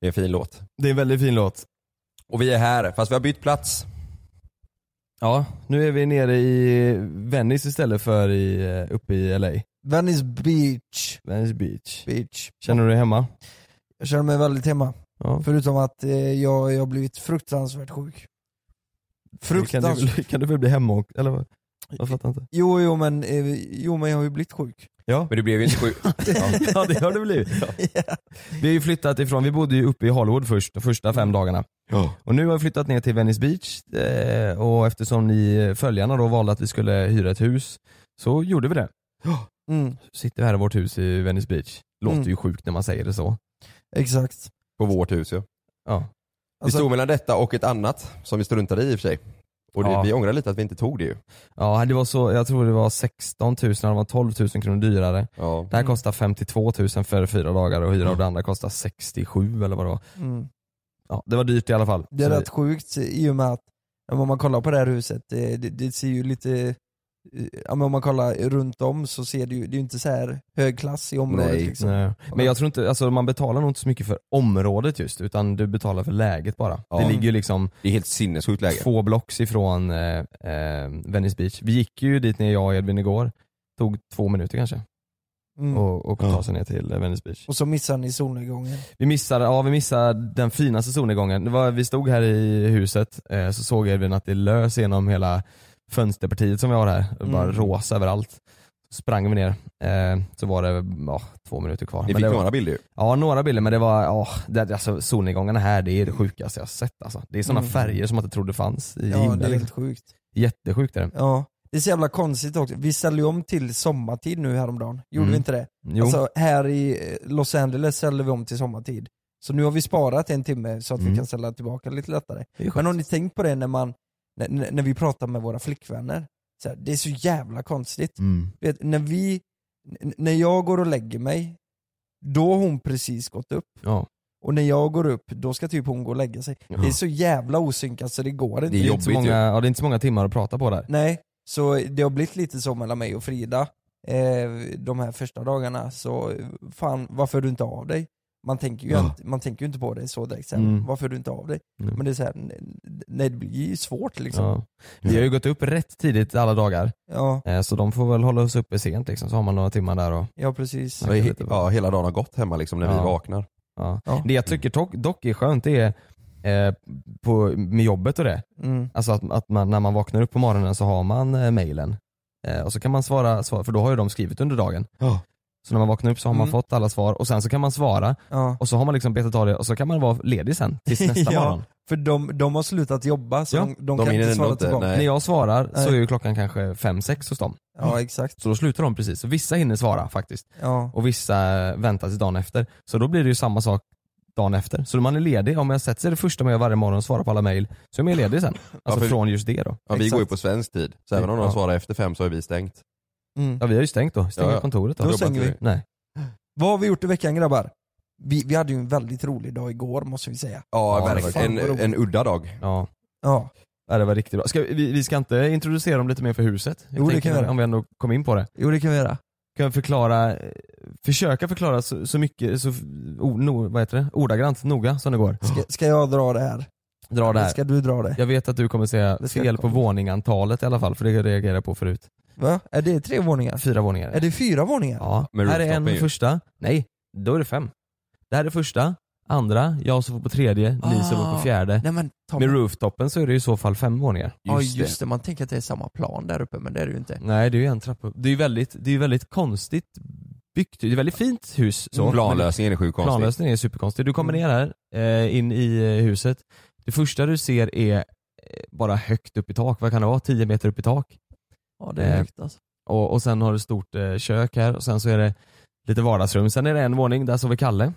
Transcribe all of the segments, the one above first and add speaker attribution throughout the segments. Speaker 1: Det är en fin låt.
Speaker 2: Det är en väldigt fin låt.
Speaker 1: Och vi är här, fast vi har bytt plats.
Speaker 2: Ja, nu är vi nere i Venice istället för i, eh, uppe i LA.
Speaker 3: Venice Beach.
Speaker 2: Venice Beach.
Speaker 3: Beach.
Speaker 2: Känner du dig hemma?
Speaker 3: Jag känner mig väldigt hemma.
Speaker 2: Ja.
Speaker 3: Förutom att eh, jag, jag har blivit fruktansvärt sjuk.
Speaker 2: Kan du,
Speaker 3: Fruktansvärt.
Speaker 2: väl- kan du väl bli hemma och, eller vad? Jag fattar inte.
Speaker 3: Jo, jo men, eh, jo men jag har ju blivit sjuk.
Speaker 2: Ja.
Speaker 1: Men du blev ju inte sjuk.
Speaker 2: ja det har det blivit.
Speaker 3: Ja.
Speaker 2: Vi har ju flyttat ifrån, vi bodde ju uppe i Hollywood först, de första fem dagarna. Och nu har vi flyttat ner till Venice Beach eh, och eftersom ni eh, följarna då valde att vi skulle hyra ett hus så gjorde vi det.
Speaker 3: Mm,
Speaker 2: Så sitter vi här i vårt hus i Venice Beach. Låter
Speaker 3: Mm.
Speaker 2: ju sjukt när man säger det så.
Speaker 3: exakt.
Speaker 1: På vårt hus ja.
Speaker 2: Ja.
Speaker 1: Vi
Speaker 3: Alltså-
Speaker 1: stod mellan detta och ett annat som vi struntade i i och för sig. Och det,
Speaker 2: Ja.
Speaker 1: vi ångrar lite att vi inte tog det ju.
Speaker 2: ja, det var så, jag tror det var 16 000 eller det var 12 000 kronor dyrare.
Speaker 1: Ja.
Speaker 2: Det här kostar 52 000 för fyra dagar och hyra och det andra kostar 67 eller vad det var.
Speaker 3: Mm.
Speaker 2: Ja, det var dyrt i alla fall.
Speaker 3: Det är
Speaker 2: Så-
Speaker 3: rätt sjukt i och med att ja, men om man kollar på det här huset, eh, det, det, det ser ju lite, eh, ja, men om man kollar runt om så ser det ju, det är ju inte så här hög klass i området
Speaker 1: Nej.
Speaker 3: liksom.
Speaker 2: Nej. Men jag tror inte, alltså man betalar nog inte så mycket för området just utan du betalar för läget bara.
Speaker 1: Ja.
Speaker 2: Det ligger ju liksom
Speaker 1: Det är helt sinnessjukt läge.
Speaker 2: två blocks ifrån eh, eh, Venice Beach. Vi gick ju dit ner jag och Edvin igår, tog två minuter kanske
Speaker 3: Mm. Och,
Speaker 2: och, och ta sig ner till eh, Venice Beach.
Speaker 3: så missar ni solnedgången.
Speaker 2: Vi missade, ja, vi missade den finaste solnedgången. Det var, vi stod här i huset eh, så såg Edvin att det lös genom hela fönsterpartiet som vi har här. Det var
Speaker 3: Mm.
Speaker 2: rosa överallt. Så sprang vi ner, eh, så var det ja, två minuter kvar.
Speaker 1: Ni
Speaker 2: Men
Speaker 1: fick
Speaker 2: det var,
Speaker 1: några bilder ju.
Speaker 2: Ja, några bilder men det var, ja, det, alltså, solnedgångarna här det är det sjukaste jag har sett alltså. Det är sådana
Speaker 3: Mm.
Speaker 2: färger som man inte trodde fanns i
Speaker 3: Ja, det
Speaker 2: himlen.
Speaker 3: är
Speaker 2: liksom.
Speaker 3: helt sjukt.
Speaker 2: Jättesjukt är det.
Speaker 3: Ja, det är så jävla konstigt också. Vi ställde ju om till sommartid nu häromdagen, gjorde
Speaker 2: Mm.
Speaker 3: vi inte det?
Speaker 2: Jo.
Speaker 3: Alltså här i eh, Los Angeles ställde vi om till sommartid. Så nu har vi sparat en timme så att
Speaker 2: Mm.
Speaker 3: vi kan ställa tillbaka lite lättare.
Speaker 2: det är skönt.
Speaker 3: Men har ni tänkt på det när, man, när, när när vi pratar med våra flickvänner? Så här, det är så jävla konstigt.
Speaker 2: mm.
Speaker 3: Du Vet, när, vi, n- när jag går och lägger mig, då har hon precis gått upp.
Speaker 2: ja.
Speaker 3: Och när jag går upp, då ska typ hon gå och lägga sig. Det är så jävla osynkat så det går inte.
Speaker 1: Det är
Speaker 2: Det är, inte
Speaker 1: jobbigt
Speaker 2: så
Speaker 1: ju.
Speaker 2: många, ja, det är inte så många timmar att prata på där.
Speaker 3: Nej, så det har blivit lite så mellan mig och Frida eh, de här första dagarna, så eh, fan varför hör du inte av dig? Man tänker ju,
Speaker 2: Ja.
Speaker 3: inte, man tänker ju inte på det så direkt sen,
Speaker 2: Mm.
Speaker 3: varför hör du inte av dig?
Speaker 2: Mm.
Speaker 3: Men det är så här, n- nej det blir ju svårt liksom. Ja.
Speaker 2: Ja. Vi har ju gått upp rätt tidigt alla dagar,
Speaker 3: Ja,
Speaker 2: eh, så de får väl hålla oss uppe sent liksom, så har man några timmar där och
Speaker 3: precis.
Speaker 1: Så he- ja, hela dagen har gått hemma liksom när vi
Speaker 2: Ja.
Speaker 1: vaknar.
Speaker 2: ja.
Speaker 3: Ja.
Speaker 2: Det jag tycker dock, dock är skönt det är eh, på, med jobbet och det,
Speaker 3: Mm.
Speaker 2: Alltså att, att man, när man vaknar upp på morgonen så har man eh, mailen. Eh, och så kan man svara, svara, för då har ju de skrivit under dagen.
Speaker 1: Ja.
Speaker 2: Så när man vaknar upp så har man
Speaker 3: Mm.
Speaker 2: fått alla svar och sen så kan man svara
Speaker 3: Ja.
Speaker 2: och så har man liksom betat av det och så kan man vara ledig sen tills nästa
Speaker 3: Ja.
Speaker 2: morgon.
Speaker 3: För de, de har slutat jobba så
Speaker 2: Ja,
Speaker 3: de, de
Speaker 1: de
Speaker 3: kan
Speaker 1: hinner
Speaker 3: inte
Speaker 1: ändå
Speaker 3: svara
Speaker 1: inte,
Speaker 3: tillbaka.
Speaker 1: nej.
Speaker 2: När jag svarar så
Speaker 3: Nej.
Speaker 2: är ju klockan kanske fem sex hos dem.
Speaker 3: Ja exakt.
Speaker 2: Så då slutar de precis. Så vissa hinner svara faktiskt
Speaker 3: Ja.
Speaker 2: och vissa väntar till dagen efter. Så då blir det ju samma sak dagen efter. Så när man är ledig, om jag sätter sig det första man gör varje morgon och svarar på alla mail, så är man ju ledig sen. Alltså
Speaker 1: för-
Speaker 2: från just det då.
Speaker 1: Ja, vi
Speaker 3: Exakt.
Speaker 1: går ju på svensk tid, så även om de
Speaker 2: Ja.
Speaker 1: svarar efter fem så har vi stängt.
Speaker 3: Mm.
Speaker 2: Ja vi har ju stängt då, stänger
Speaker 1: Ja, ja.
Speaker 2: kontoret då.
Speaker 3: Då
Speaker 1: Jobbar
Speaker 3: stänger
Speaker 1: inte
Speaker 3: vi.
Speaker 1: det.
Speaker 2: Nej.
Speaker 3: Vad har vi gjort i veckan grabbar? Vi, vi hade ju en väldigt rolig dag igår måste vi säga.
Speaker 1: Ja,
Speaker 2: Ja,
Speaker 1: verkligen.
Speaker 3: fan, vad
Speaker 1: En,
Speaker 3: roligt.
Speaker 1: en udda dag.
Speaker 2: Ja.
Speaker 3: Ja.
Speaker 2: Ja, det var riktigt bra. Ska, vi- vi, vi ska inte introducera dem lite mer för huset? Jag
Speaker 3: Jo, det
Speaker 2: tänker
Speaker 3: kan vi göra.
Speaker 2: Om vi ändå kom in på det.
Speaker 3: Jo det kan vi göra.
Speaker 2: Kan vi förklara, eh, försöka förklara så, så mycket, så, o, no, vad heter det? ordagrant, noga som det går.
Speaker 3: Ska, ska jag dra det här?
Speaker 2: Dra det här.
Speaker 3: Ska du dra det?
Speaker 2: Jag vet att du kommer säga
Speaker 3: Det ska
Speaker 2: fel
Speaker 3: jag
Speaker 2: på
Speaker 3: komma.
Speaker 2: våningantalet i alla fall, för det reagerade jag på förut.
Speaker 3: Va? Är det tre våningar?
Speaker 2: Fyra våningar.
Speaker 3: Är det fyra våningar?
Speaker 2: Ja.
Speaker 1: Med
Speaker 2: Här är en
Speaker 1: rooftop ju.
Speaker 2: första, nej, då är det fem. Det här är första, andra, jag som får på tredje, ni som får
Speaker 3: Ah.
Speaker 2: på fjärde.
Speaker 3: Nej men ta
Speaker 2: Med rooftopen så är det i så fall fem våningar.
Speaker 3: Ja just det, man tänker att det är samma plan där uppe men det är det ju inte.
Speaker 2: Nej det är ju en trappa upp. Det är ju väldigt, det är ju väldigt konstigt byggt, det är ett väldigt fint hus.
Speaker 1: Mm.
Speaker 2: Så.
Speaker 1: Planlösningen är sjukt
Speaker 2: Men-
Speaker 1: konstig.
Speaker 2: Planlösningen är superkonstig. Du kommer ner här, eh, in i eh, huset. Det första du ser är eh, bara högt upp i tak, vad kan det vara? 10 meter upp i tak.
Speaker 3: Ja det är
Speaker 2: Eh,
Speaker 3: högt alltså.
Speaker 2: Och, och sen har du ett stort eh, kök här och sen så är det lite vardagsrum. Sen är det en våning, där sover Kalle.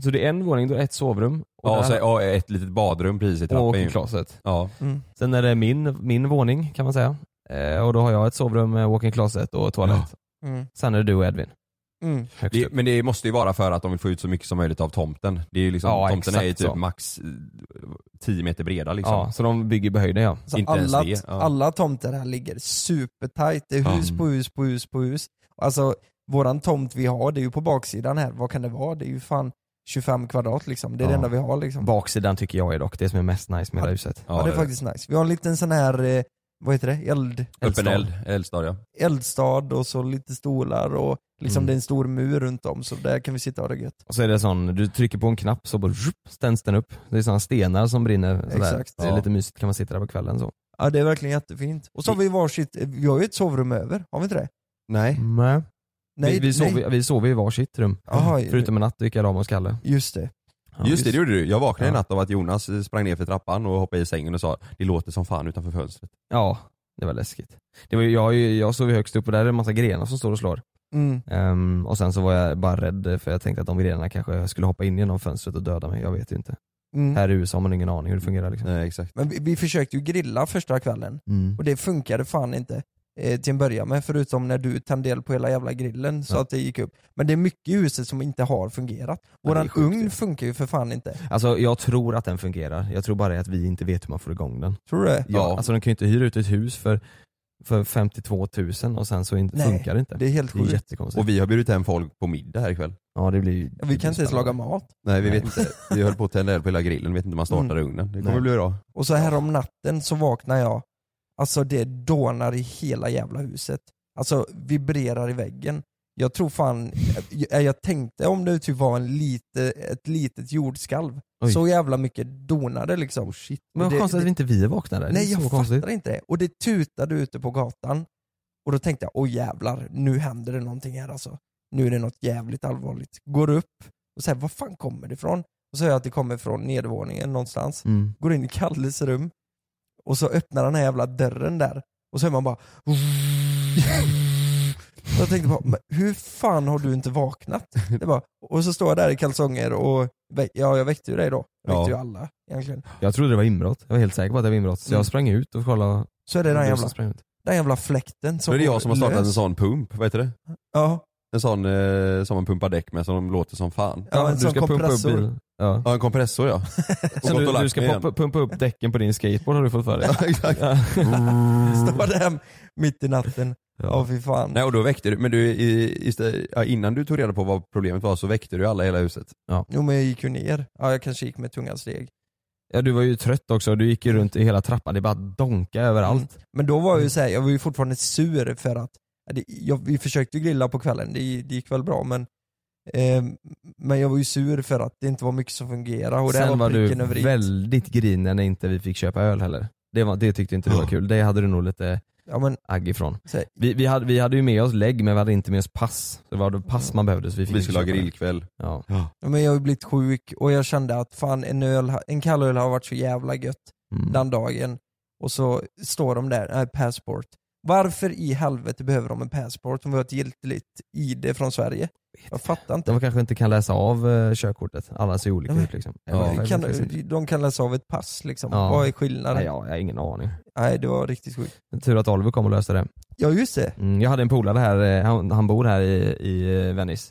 Speaker 2: Så det är en våning, då är det ett sovrum. Och
Speaker 1: Ja,
Speaker 2: där-
Speaker 1: så, ja, ett litet badrum precis i
Speaker 2: och
Speaker 1: trappan. ju.
Speaker 2: closet.
Speaker 1: Ja.
Speaker 3: Mm.
Speaker 2: Sen är det min, min våning kan man säga. Eh, och då har jag ett sovrum med walk-in closet och toalett.
Speaker 3: Mm.
Speaker 2: Sen är det du och Edvin.
Speaker 3: Mm.
Speaker 2: Högst
Speaker 1: Det,
Speaker 2: upp.
Speaker 1: men det måste ju vara för att de vill få ut så mycket som möjligt av tomten. Det är ju liksom,
Speaker 2: Ja,
Speaker 1: tomten är ju
Speaker 2: exakt
Speaker 1: typ
Speaker 2: så.
Speaker 1: max eh, 10 meter breda liksom.
Speaker 2: Ja, så de bygger på höjden ja.
Speaker 3: Alltså
Speaker 1: Inte ens
Speaker 3: alla,
Speaker 1: det, ja.
Speaker 3: alla tomter här ligger supertajt. Det är hus
Speaker 1: Ja.
Speaker 3: på hus på hus på hus. Alltså våran tomt vi har, det är ju på baksidan här. Vad kan det vara? Det är ju fan 25 kvadrat liksom. Det är det
Speaker 2: Ja.
Speaker 3: enda vi har liksom.
Speaker 2: Baksidan tycker jag är dock det som är mest nice med det här huset.
Speaker 3: ja, det är faktiskt nice. Vi har en liten sån här, eh, vad heter det? Eld,
Speaker 1: Öppen eld, eldstad ja.
Speaker 3: eldstad och så lite stolar och liksom
Speaker 2: Mm.
Speaker 3: det är en stor mur runt om så där kan vi sitta och ha det gött.
Speaker 2: Och så är det sån, du trycker på en knapp så bara zhup, ständs den upp. Det är såna stenar som brinner sådär.
Speaker 3: Exakt.
Speaker 2: Det är
Speaker 3: Ja.
Speaker 2: lite mysigt kan man sitta där på kvällen så.
Speaker 3: Ja det är verkligen jättefint. Och så har vi varsitt, vi har ju ett sovrum över, har vi inte det?
Speaker 1: Nej.
Speaker 2: Nej.
Speaker 3: Nej,
Speaker 2: vi, vi,
Speaker 3: nej.
Speaker 2: sover, vi sover i varsitt rum.
Speaker 3: Jaha,
Speaker 2: Förutom en natt då gick jag och la mig hos Kalle.
Speaker 3: Just det.
Speaker 2: Ja,
Speaker 1: Just det, det gjorde du. Jag vaknade i
Speaker 2: Ja.
Speaker 1: natt av att Jonas eh, sprang ner för trappan och hoppade i sängen och sa det låter som fan utanför fönstret.
Speaker 2: Ja, det var läskigt. Det var, ju- jag, har ju- jag sov ju högst upp och där är det en massa grenar som står och slår.
Speaker 3: Mm.
Speaker 2: Ehm, och sen så var jag bara rädd för jag tänkte att de grenarna kanske skulle hoppa in genom fönstret och döda mig. Jag vet ju inte.
Speaker 3: Mm.
Speaker 2: Här i USA har man ingen aning hur det fungerar liksom.
Speaker 1: Nej, exakt.
Speaker 3: Men vi, vi försökte ju grilla första kvällen
Speaker 2: Mm.
Speaker 3: och det funkade fan inte eh, till en början med förutom när du tände eld på hela jävla grillen så
Speaker 2: Ja.
Speaker 3: att det gick upp. Men det är mycket i huset som inte har fungerat.
Speaker 2: det är
Speaker 3: Våran
Speaker 2: sjukt,
Speaker 3: ugn
Speaker 2: ja.
Speaker 3: funkar ju för fan inte.
Speaker 2: Alltså jag tror att den fungerar. Jag tror bara att vi inte vet hur man får igång den.
Speaker 3: Tror du det?
Speaker 2: Ja. Alltså de kan ju inte hyra ut ett hus för, för 52 000 och sen så inte,
Speaker 3: Nej,
Speaker 2: funkar det inte.
Speaker 3: Det är helt
Speaker 2: det är
Speaker 3: sjukt.
Speaker 2: jättekonstigt.
Speaker 1: Och vi har bjudit hem folk på middag här ikväll.
Speaker 2: ja, det blir, ju- det
Speaker 3: Vi
Speaker 2: blir
Speaker 3: kan inte ens
Speaker 2: spännande.
Speaker 3: laga mat.
Speaker 1: Nej Mm. vi
Speaker 2: Nej.
Speaker 1: vet inte. Vi höll på att tända eld på hela grillen, vet inte hur man startar ugnen. Det kommer
Speaker 2: Nej.
Speaker 1: bli bra.
Speaker 3: Och så här om natten så vaknar jag, alltså det dånar i hela jävla huset. Alltså vibrerar i väggen. Jag tror fan, jag, jag tänkte om det typ var en lite, ett litet jordskalv.
Speaker 2: Oj. Oh,
Speaker 3: Så jävla mycket donade liksom.
Speaker 2: Men vad
Speaker 3: Det-
Speaker 2: konstigt att
Speaker 3: det-
Speaker 2: vi inte vi vaknar där.
Speaker 3: Nej
Speaker 2: det är så
Speaker 3: jag
Speaker 2: konstigt.
Speaker 3: fattar inte det. Och det tutade ute på gatan. Och då tänkte jag, åh jävlar, nu händer det någonting här alltså. Nu är det något jävligt allvarligt. Går upp och säger, vad fan kommer det ifrån? Och så hör jag att det kommer från nedervåningen någonstans
Speaker 2: Mm.
Speaker 3: går in i Kalles rum och så öppnar den här jävla dörren där och så är man bara och jag tänkte bara, men hur fan har du inte vaknat? Det bara, och så står jag där i kalsonger och, vä- ja jag väckte ju dig då, jag väckte
Speaker 1: Ja.
Speaker 3: ju alla egentligen.
Speaker 2: Jag trodde det var inbrott. Jag var helt säker på att det var inbrott. Så
Speaker 3: Mm.
Speaker 2: jag sprang ut och kollade.
Speaker 3: Så är det den
Speaker 2: Du
Speaker 3: jävla,
Speaker 2: som sprang ut.
Speaker 3: den jävla fläkten som
Speaker 1: Då är det jag som har startat en
Speaker 3: lös.
Speaker 1: sån pump, vad heter det?
Speaker 3: Ja,
Speaker 1: En sån eh, som man pumpar däck med som låter som fan.
Speaker 3: ja, en
Speaker 2: du
Speaker 3: sån
Speaker 2: ska pumpa upp
Speaker 3: kompressor.
Speaker 2: bilen. Ja.
Speaker 1: Ja en kompressor ja. Och
Speaker 2: Så
Speaker 1: gått
Speaker 2: du,
Speaker 1: och lagt
Speaker 2: du ska
Speaker 1: mig igen.
Speaker 2: pumpa, pumpa upp däcken på din skateboard har du fått för dig.
Speaker 1: Ja, exakt.
Speaker 2: Ja.
Speaker 3: Står där mitt i natten, ja fy fan.
Speaker 1: Nej och då väckte du, men du, i, istä- ja, innan du tog reda på vad problemet var så väckte du alla i hela huset.
Speaker 3: Jo men jag gick ju ner, ja jag kanske gick med tunga steg.
Speaker 2: ja, du var ju trött också. Du gick ju runt i hela trappan. Det bara donka överallt.
Speaker 3: Men då var jag
Speaker 2: Mm.
Speaker 3: ju så här, jag var ju fortfarande sur för att ja, det, jag, vi försökte ju grilla på kvällen, det, det gick väl bra men eh, men jag var ju sur för att det inte var mycket som fungerade och det här
Speaker 2: Sen var
Speaker 3: var
Speaker 2: du
Speaker 3: pricken över i.
Speaker 2: väldigt grinig när inte vi fick köpa öl heller. Det, var, det tyckte inte du var kul. Det hade du nog lite
Speaker 3: Ja, men,
Speaker 2: agg ifrån.
Speaker 3: så här,
Speaker 2: Vi, vi, hade, vi hade ju med oss lägg men vi hade inte med oss pass. Det var det pass man behövde så vi fick
Speaker 1: Vi
Speaker 2: inte
Speaker 1: skulle ha
Speaker 2: köpa det.
Speaker 1: grillkväll.
Speaker 2: Ja.
Speaker 3: ja, men jag har ju blivit sjuk och jag kände att fan en, öl, ha- en kall öl har varit så jävla gött
Speaker 2: Mm.
Speaker 3: den dagen och så står de där, nej passport. Varför i helvete behöver de en passport om vi har ett giltigt ID från Sverige? Jag fattar inte.
Speaker 2: De kanske inte kan läsa av eh, körkortet. Alla ser olika
Speaker 3: Ja, men-
Speaker 2: ut liksom.
Speaker 1: Ja.
Speaker 2: Eller-
Speaker 3: kan,
Speaker 2: liksom.
Speaker 3: de kan läsa av ett pass liksom.
Speaker 2: Ja.
Speaker 3: Vad är
Speaker 2: Nej,
Speaker 3: skillnaden?
Speaker 2: jag, jag har ingen aning.
Speaker 3: Nej det var riktigt sjukt.
Speaker 2: Tur att Oliver kom och löste det.
Speaker 3: Ja just det.
Speaker 2: Mm, jag hade en polare här, eh, han, han bor här i, i eh, Venice.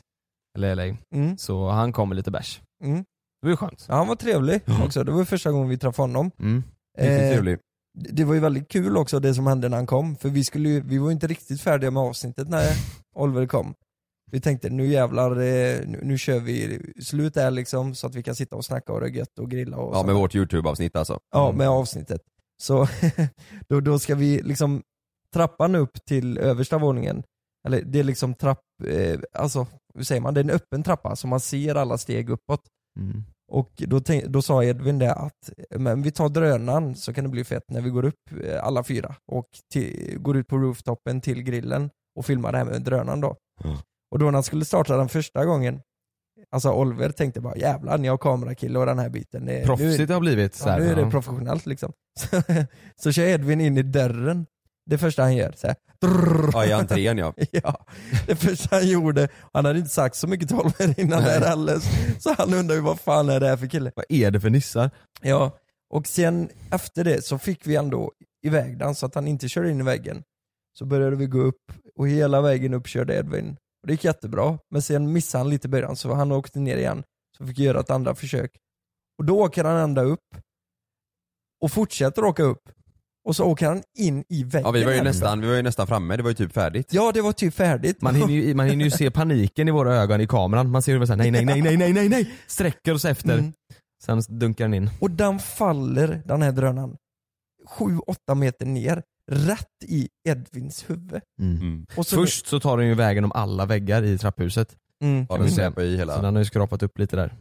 Speaker 2: Eller LA.
Speaker 3: Mm.
Speaker 2: Så han kom med lite bärs.
Speaker 3: Mm.
Speaker 2: Det var ju skönt.
Speaker 3: Ja, han var trevlig också, det var första gången vi träffade honom.
Speaker 2: Mm.
Speaker 1: Riktigt
Speaker 3: Eh,
Speaker 1: trevlig.
Speaker 3: det det var ju väldigt kul också det som hände när han kom, för vi, skulle ju, vi var ju inte riktigt färdiga med avsnittet när Oliver kom. Vi tänkte nu jävlar, eh, nu, nu kör vi slut där liksom så att vi kan sitta och snacka och det är gött och grilla och
Speaker 1: Ja
Speaker 3: så.
Speaker 1: med vårt youtube-avsnitt alltså.
Speaker 3: ja, med avsnittet. Så då, då ska vi liksom trappan upp till översta våningen, eller det är liksom trapp, eh, alltså hur säger man, det är en öppen trappa så man ser alla steg uppåt.
Speaker 2: Mm.
Speaker 3: Och då, tänk, då sa Edvin det att men vi tar drönaren så kan det bli fett när vi går upp eh, alla fyra och till, går ut på rooftopen till grillen och filmar det här med drönaren då.
Speaker 1: Ja.
Speaker 3: Och då när han skulle starta den första gången, alltså Oliver tänkte bara jävlar ni har kamerakille och den här biten. Det,
Speaker 2: Proffsigt
Speaker 3: nu,
Speaker 2: det har blivit. Så
Speaker 3: ja,
Speaker 2: här,
Speaker 3: nu är det
Speaker 2: ja.
Speaker 3: professionellt liksom. Så, så kör Edvin in i dörren, det första han gör. Så här, drrrr.
Speaker 1: Ja, i entrén ja.
Speaker 3: Ja, det första han gjorde, han hade inte sagt så mycket till Oliver innan det här alldeles, så han undrar ju vad fan är det här för kille?
Speaker 2: Vad är det för nissar?
Speaker 3: Ja, och sen efter det så fick vi ändå iväg den så att han inte körde in i väggen. Så började vi gå upp och hela vägen upp körde Edvin. Och det gick jättebra, men sen missade han lite i början så han åkte ner igen. Så fick jag göra ett andra försök. Och då åker han ända upp och fortsätter åka upp. Och så åker han in i väggen.
Speaker 1: ja vi, var ju
Speaker 3: här.
Speaker 1: nästan, vi var ju nästan framme, det var ju typ färdigt.
Speaker 3: Ja, det var typ färdigt.
Speaker 2: Man hinner, ju, man hinner ju se paniken i våra ögon i kameran. Man ser hur vi säger nej, nej, nej, nej, nej, nej, nej. Sträcker oss efter.
Speaker 3: Mm.
Speaker 2: Sen dunkar den in.
Speaker 3: Och den faller, den här drönaren, 7-8 meter ner, rätt i Edvins huvud.
Speaker 1: Mm.
Speaker 3: Och så
Speaker 2: Först så tar den ju vägen om alla väggar i trapphuset.
Speaker 3: Mm,
Speaker 1: Ja,
Speaker 2: Mm.
Speaker 1: den släpade i hela.
Speaker 2: Så den har ju skrapat upp lite där.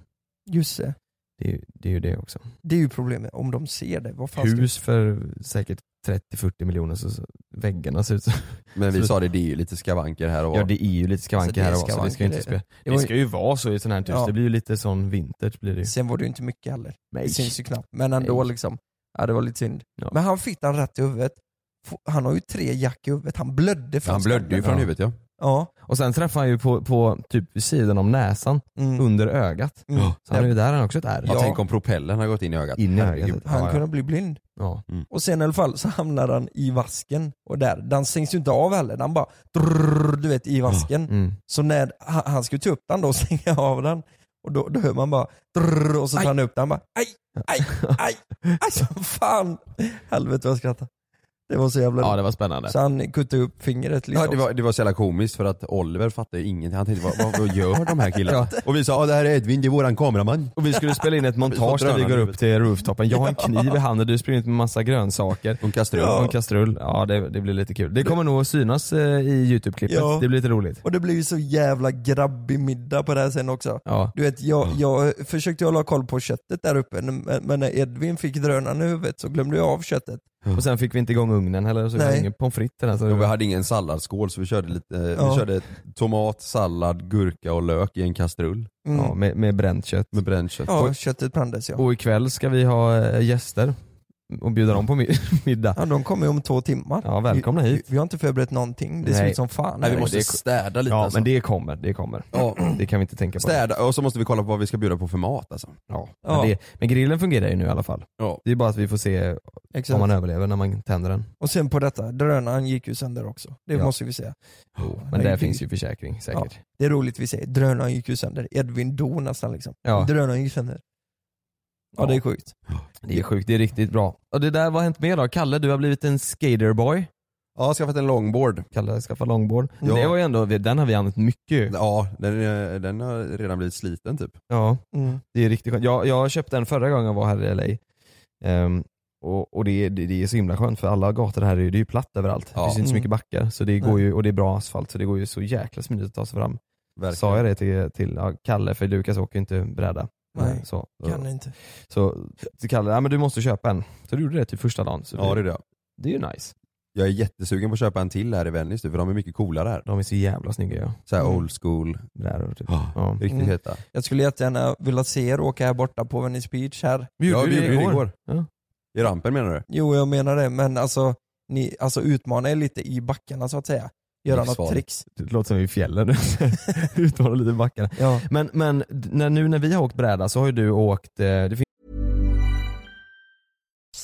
Speaker 3: just det.
Speaker 2: Det är, ju- det är ju det också.
Speaker 3: Det är ju problemet, om de ser det, vad fan ska-
Speaker 2: Hus för säkert 30-40 miljoner så så väggarna ser ut så.
Speaker 1: Men vi
Speaker 2: Så-
Speaker 1: sa det, det är ju lite skavanker här och var.
Speaker 2: Ja det är ju lite skavanker här och var, så det ska ju inte
Speaker 3: Alltså, skavanker,
Speaker 2: spela.
Speaker 3: det var
Speaker 2: Det
Speaker 3: ju-
Speaker 2: ska ju vara så i ett sånt här hus.
Speaker 3: Ja.
Speaker 2: Det blir ju lite sån vintage blir det ju.
Speaker 3: Sen var det ju inte mycket heller.
Speaker 2: Nej.
Speaker 3: Det syns ju knappt. Men ändå
Speaker 2: Nej.
Speaker 3: liksom. Ja, det var lite synd.
Speaker 2: Ja.
Speaker 3: Men han fick den rätt i huvudet. F- Han har ju tre jack i huvudet. Han blödde från
Speaker 1: Han blödde ju
Speaker 3: skallen.
Speaker 1: från
Speaker 2: Ja.
Speaker 1: huvudet ja.
Speaker 3: Ja.
Speaker 2: Och sen träffar han ju på, på typ vid sidan om näsan,
Speaker 3: Mm.
Speaker 2: under ögat.
Speaker 3: Mm.
Speaker 2: Så han är ju där han har också ett ärr.
Speaker 1: Ja,
Speaker 3: Ja.
Speaker 1: Tänk om propellen har gått in i ögat.
Speaker 2: In i
Speaker 1: Herregud.
Speaker 2: ögat.
Speaker 3: Han
Speaker 2: Ja, Mm. ja.
Speaker 3: kunde bli blind.
Speaker 2: Ja.
Speaker 3: Och sen i alla fall så hamnar han i vasken. Och där, den stängs ju inte av heller. Den bara drrrr, du vet, i vasken.
Speaker 2: Mm.
Speaker 3: Så när han, han skulle ta upp den då och stänga av den. Och då, då hör man bara drrrr, och så tar
Speaker 2: Aj.
Speaker 3: han upp den bara aj, aj, aj, aj som fan. Helvete vad jag skrattade. Det var så jävla
Speaker 2: ja det var spännande.
Speaker 3: Så han kuttade upp fingret liksom.
Speaker 1: Ja, det, var, det var så jävla komiskt för att Oliver fattade ingenting. Han tänkte vad, vad, vad gör de här killarna? Och vi sa "Ja, det här är Edvin, det är våran kameraman.
Speaker 2: Och vi skulle spela in ett montage där vi går upp till rooftopen. Jag har en kniv i handen, du springer ut med massa grönsaker.
Speaker 1: Och en kastrull.
Speaker 2: Och en kastrull. Ja det, det blir lite kul. Det kommer nog att synas eh, i youtube-klippet.
Speaker 3: Ja.
Speaker 2: Det blir lite roligt.
Speaker 3: Och det blev ju så jävla grabbig middag på det här sen också.
Speaker 2: Ja.
Speaker 3: Du vet, jag,
Speaker 2: Mm.
Speaker 3: jag försökte hålla koll på köttet där uppe, men men när Edvin fick drönaren i huvudet så glömde jag av köttet.
Speaker 2: Och sen fick vi inte igång ugnen heller, så vi
Speaker 3: Nej.
Speaker 2: hade ingen pommes frites i den. Så det
Speaker 1: Och vi
Speaker 2: var-
Speaker 1: hade ingen salladsskål så vi körde, lite, eh,
Speaker 3: Ja.
Speaker 1: vi körde tomat, sallad, gurka och lök i en kastrull
Speaker 3: Mm.
Speaker 2: ja, Oh.
Speaker 3: Ja,
Speaker 2: med, med bränt kött.
Speaker 1: med bränt kött. Och-
Speaker 3: köttet brändes ja.
Speaker 2: Och ikväll ska vi ha eh, gäster och bjuda dem på mi- middag.
Speaker 3: ja. De kommer ju om två timmar.
Speaker 2: Ja, välkomna hit.
Speaker 3: Vi, vi har inte förberett någonting, det ser
Speaker 2: Nej.
Speaker 3: ut som fan.
Speaker 1: Nej, vi
Speaker 3: här.
Speaker 1: måste
Speaker 2: det är-
Speaker 1: städa lite
Speaker 2: Ja
Speaker 1: alltså.
Speaker 2: men det kommer, det kommer.
Speaker 1: Ja.
Speaker 2: Det kan vi inte tänka på.
Speaker 1: Städa och så måste vi kolla på vad vi ska bjuda på för mat alltså.
Speaker 2: Ja.
Speaker 3: Ja.
Speaker 2: Men, det, men grillen fungerar ju nu i alla fall.
Speaker 1: Ja.
Speaker 2: Det är bara att vi får se om
Speaker 3: Exakt.
Speaker 2: man överlever när man tänder den.
Speaker 3: Och sen på detta, drönaren gick ju sönder också. Det
Speaker 2: Ja.
Speaker 3: måste vi säga.
Speaker 2: Men där
Speaker 3: herregud.
Speaker 2: finns ju försäkring säkert.
Speaker 3: Det är roligt vi säger, drönaren gick ju sönder. Edvin dog nästan liksom.
Speaker 2: Ja.
Speaker 3: Drönaren gick sönder. Ja, det är sjukt.
Speaker 2: Det är sjukt, det är riktigt bra. Och det där, vad har hänt mer då? Kalle, du har blivit en skaterboy.
Speaker 1: Ja, jag har skaffat en longboard.
Speaker 2: Kalle har skaffat longboard.
Speaker 3: Ja.
Speaker 2: Det var ju ändå, den har vi använt mycket.
Speaker 1: Ja, den, eh, den har redan blivit sliten typ.
Speaker 2: Ja.
Speaker 3: Mm.
Speaker 2: Det är riktigt skönt. Jag, jag köpte den förra gången jag var här i LA. Ehm, och och det, är- det, det är så himla skönt för alla gator här är ju, det är ju platt överallt.
Speaker 1: Ja.
Speaker 2: Det finns inte så
Speaker 3: Mm.
Speaker 2: mycket backar så det går
Speaker 3: Nej.
Speaker 2: ju, och det är bra asfalt så det går ju så jäkla smidigt att ta sig fram. Sa jag det till, till ja, Kalle för Lukas åker ju inte bräda.
Speaker 3: Nej.
Speaker 2: Så,
Speaker 3: Kan inte.
Speaker 2: så till Kalle, ja men du måste köpa en. Så du gjorde det till första dagen. Så
Speaker 1: Ja det är det.
Speaker 2: det är ju nice.
Speaker 1: Jag är jättesugen på att köpa en till här i Venice nu, för de är mycket coolare här.
Speaker 2: De är så jävla snygga ja.
Speaker 1: Så här
Speaker 3: Mm.
Speaker 1: old school,
Speaker 2: Brädor typ.
Speaker 1: Ja.
Speaker 2: Ja.
Speaker 1: riktigt
Speaker 3: Mm.
Speaker 1: heta.
Speaker 3: Jag skulle jättegärna vilja se er åka här borta på Venice Beach här.
Speaker 2: Vi gjorde
Speaker 1: ja,
Speaker 2: ju det igår. Ja.
Speaker 1: Ja. I rampen menar du?
Speaker 3: Jo, jag menar det, men alltså, ni, alltså utmana er lite i backarna så att säga. Göra något
Speaker 1: Livsfarligt.
Speaker 3: tricks.
Speaker 2: Det låter som vi är i fjällen nu. Utmanar lite backarna.
Speaker 3: Ja.
Speaker 2: Men, men d- när, nu när vi har åkt bräda så har ju du åkt, eh, det finns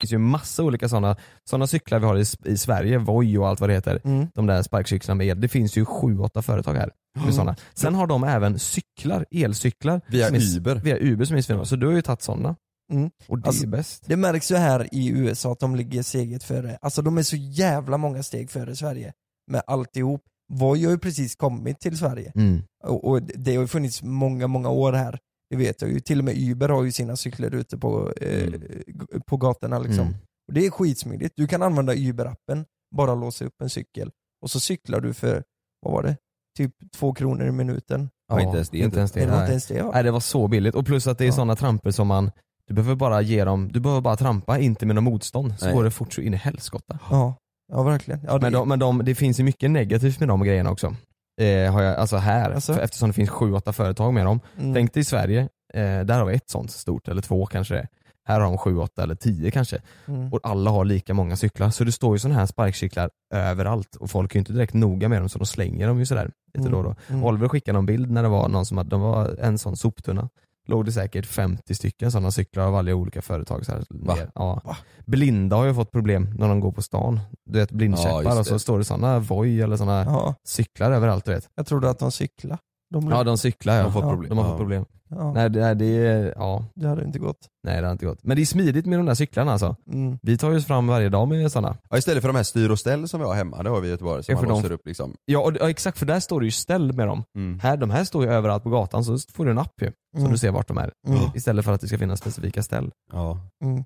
Speaker 2: finns ju massa olika sådana såna cyklar vi har i, S- i Sverige, Voi och allt vad det heter.
Speaker 3: Mm.
Speaker 2: De där sparkcyklarna med el. Det finns ju sju, åtta företag här med såna. Sen har de även cyklar, elcyklar.
Speaker 1: Via
Speaker 2: som är s-
Speaker 1: Uber.
Speaker 2: Via Uber som är svinbra. Så du har ju tagit sådana.
Speaker 3: Mm.
Speaker 2: Och det är
Speaker 3: Alltså-
Speaker 2: ju bäst.
Speaker 3: Det märks ju här i USA att de ligger steget före. Alltså de är så jävla många steg före Sverige med alltihop. Voi har ju precis kommit till Sverige
Speaker 2: Mm.
Speaker 3: och, och det har ju funnits många, många år här. Det vet jag ju. Till och med Uber har ju sina cyklar ute på, eh,
Speaker 1: Mm.
Speaker 3: g- på gatorna liksom.
Speaker 2: Mm.
Speaker 3: Och det är skitsmidigt. Du kan använda Uber-appen, bara låsa upp en cykel och så cyklar du för, vad var det? Typ två kronor i minuten.
Speaker 1: Ja, inte ens det. typ.
Speaker 2: Inte ens det.
Speaker 3: Det var
Speaker 2: nej.
Speaker 3: inte ens det va?
Speaker 2: Nej det var så billigt och plus att det är
Speaker 3: Ja.
Speaker 2: sådana trampor som man du behöver bara ge dem, du behöver bara trampa, inte med något motstånd, så
Speaker 1: Nej.
Speaker 2: går det fort så in i helskotta.
Speaker 3: Ja, ja verkligen. Ja,
Speaker 2: Men,
Speaker 3: det-
Speaker 2: de, men de, det finns ju mycket negativt med de grejerna också. Eh, har jag, alltså här,
Speaker 3: Alltså?
Speaker 2: för, eftersom det finns sju, åtta företag med dem.
Speaker 3: mm.
Speaker 2: Tänk dig i Sverige, eh, där har vi ett sånt stort, eller två kanske det är. Här har de sju, åtta eller tio kanske.
Speaker 3: Mm.
Speaker 2: Och alla har lika många cyklar. Så det står ju sådana här sparkcyklar överallt och folk är ju inte direkt noga med dem så de slänger dem ju sådär lite
Speaker 3: Mm.
Speaker 2: då och då.
Speaker 3: Mm.
Speaker 2: Oliver skickade någon bild när det var någon som hade, de var en sån soptunna. Låg det säkert 50 stycken sådana cyklar av varje olika företag. Så här,
Speaker 1: Va?
Speaker 2: ner. Ja. Blinda har ju fått problem när de går på stan. Du vet blindkäppar
Speaker 1: Ja, just
Speaker 2: och så
Speaker 1: det.
Speaker 2: står det sådana Voi eller sådana
Speaker 3: Ja,
Speaker 2: cyklar överallt du vet.
Speaker 3: jag trodde att de cyklade. De
Speaker 2: Ja de cyklar ja.
Speaker 1: De har fått
Speaker 2: Ja,
Speaker 1: problem.
Speaker 2: De har fått
Speaker 1: Ja.
Speaker 2: problem.
Speaker 3: ja,
Speaker 2: Nej, det, nej, det är, ja,
Speaker 3: det hade inte gått.
Speaker 2: nej det har inte gått. Men det är smidigt med de där cyklarna alltså.
Speaker 3: Mm.
Speaker 2: Vi tar ju oss fram varje dag med sådana.
Speaker 1: Ja, istället för de här styr och ställ som vi har hemma, det har vi i Göteborg som
Speaker 2: Ja, för
Speaker 1: man
Speaker 2: de-
Speaker 1: låser upp liksom.
Speaker 2: Ja, och, ja exakt för där står det ju ställ med dem.
Speaker 1: Mm.
Speaker 2: Här, de här står ju överallt på gatan så får du en app ju. Så
Speaker 3: Mm.
Speaker 2: du ser vart de är.
Speaker 3: Mm.
Speaker 2: Istället för att det ska finnas specifika ställ.
Speaker 1: Ja.
Speaker 3: Mm.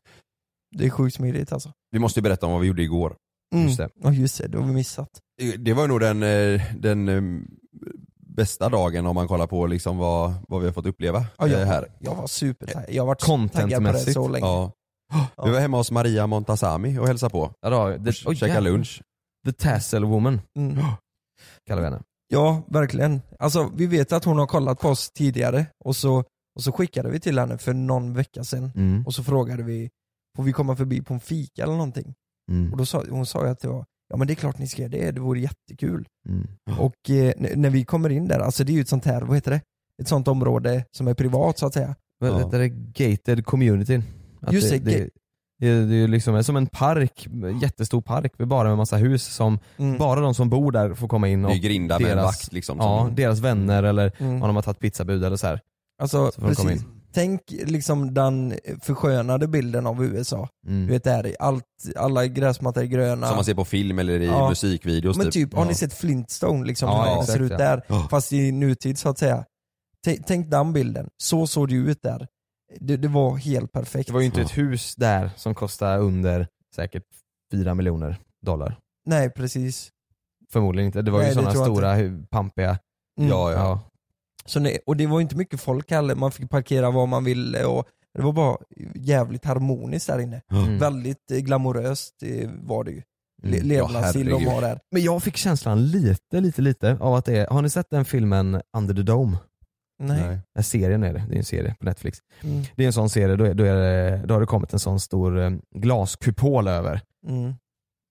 Speaker 3: Det är sjukt smidigt alltså.
Speaker 1: Vi måste ju berätta om vad vi gjorde igår.
Speaker 3: Mm.
Speaker 2: Just det.
Speaker 3: Ja just det, det har vi missat.
Speaker 1: Det var nog den, eh, den eh, bästa dagen om man kollar på liksom vad, vad vi har fått uppleva
Speaker 3: Ja,
Speaker 1: eh,
Speaker 3: jag,
Speaker 1: här.
Speaker 3: jag var supertaggad. Jag har varit så taggad på det
Speaker 2: Contentmässigt.
Speaker 3: så länge.
Speaker 1: Ja. Vi var hemma hos Maria Montazami och hälsade på.
Speaker 2: Ja, då, the,
Speaker 1: och käkade lunch.
Speaker 2: The Tassel Woman
Speaker 3: Mm.
Speaker 2: kallar vi henne.
Speaker 3: Ja, verkligen. Alltså vi vet att hon har kollat på oss tidigare och så, och så skickade vi till henne för någon vecka sedan
Speaker 2: Mm.
Speaker 3: och så frågade vi, får vi komma förbi på en fika eller någonting? Och då sa, hon sa ju att det var, ja men det är klart ni ska göra det, det vore jättekul.
Speaker 2: Mm.
Speaker 3: Och eh, n- när vi kommer in där, alltså det är ju ett sånt här, vad heter det? Ett sånt område som är privat så att säga.
Speaker 2: Vad
Speaker 1: Ja.
Speaker 2: heter det? Gated community. Att
Speaker 3: Just det,
Speaker 2: det, det, det, är- det är ju liksom som en park, jättestor park, med bara med massa hus som
Speaker 3: Mm.
Speaker 2: bara de som bor där får komma in
Speaker 1: Det
Speaker 2: och
Speaker 1: är grindar med en
Speaker 2: deras-
Speaker 1: vakt liksom.
Speaker 2: ja,
Speaker 1: som-
Speaker 2: deras vänner eller
Speaker 3: Mm.
Speaker 2: om de har tagit pizzabud eller så här.
Speaker 3: Alltså
Speaker 2: Så får de komma
Speaker 3: precis, tänk liksom den förskönade bilden av USA.
Speaker 2: Mm.
Speaker 3: Du vet där, i allt, alla gräsmattor är gröna.
Speaker 1: Som man ser på film eller i
Speaker 3: Ja.
Speaker 1: musikvideos
Speaker 3: men typ, har
Speaker 1: Ja.
Speaker 3: ni sett Flintstone liksom,
Speaker 2: Ja,
Speaker 3: hur
Speaker 2: ja,
Speaker 3: det
Speaker 2: exakt,
Speaker 3: ser ut
Speaker 2: ja.
Speaker 3: där?
Speaker 1: Ja.
Speaker 3: Fast i nutid så att säga. Tänk, tänk den bilden, så såg det ju ut där. Det, det var helt perfekt. Mm.
Speaker 2: Det var ju inte ett hus där som kostade under säkert 4 miljoner dollar.
Speaker 3: Nej precis.
Speaker 2: Förmodligen inte. Det var ju
Speaker 3: Nej, det
Speaker 2: sådana
Speaker 3: tror jag
Speaker 2: stora, hu- pampiga.
Speaker 3: Mm.
Speaker 1: Ja, ja.
Speaker 3: Så nej, och det var ju inte mycket folk heller, man fick parkera var man ville och det var bara jävligt harmoniskt där inne.
Speaker 2: Mm.
Speaker 3: Väldigt eh, glamoröst eh, var det ju. Le-
Speaker 2: Mm.
Speaker 3: Levnadsstil de
Speaker 1: herregud.
Speaker 3: har där.
Speaker 2: Men jag fick känslan lite, lite, lite av att det är, har ni sett den filmen Under the Dome?
Speaker 3: Nej.
Speaker 2: Nej, serien är det, det är en serie på Netflix.
Speaker 3: Mm.
Speaker 2: Det är en sån serie, då, är, då, är det, då har det kommit en sån stor eh, glaskupol över.
Speaker 3: Mm.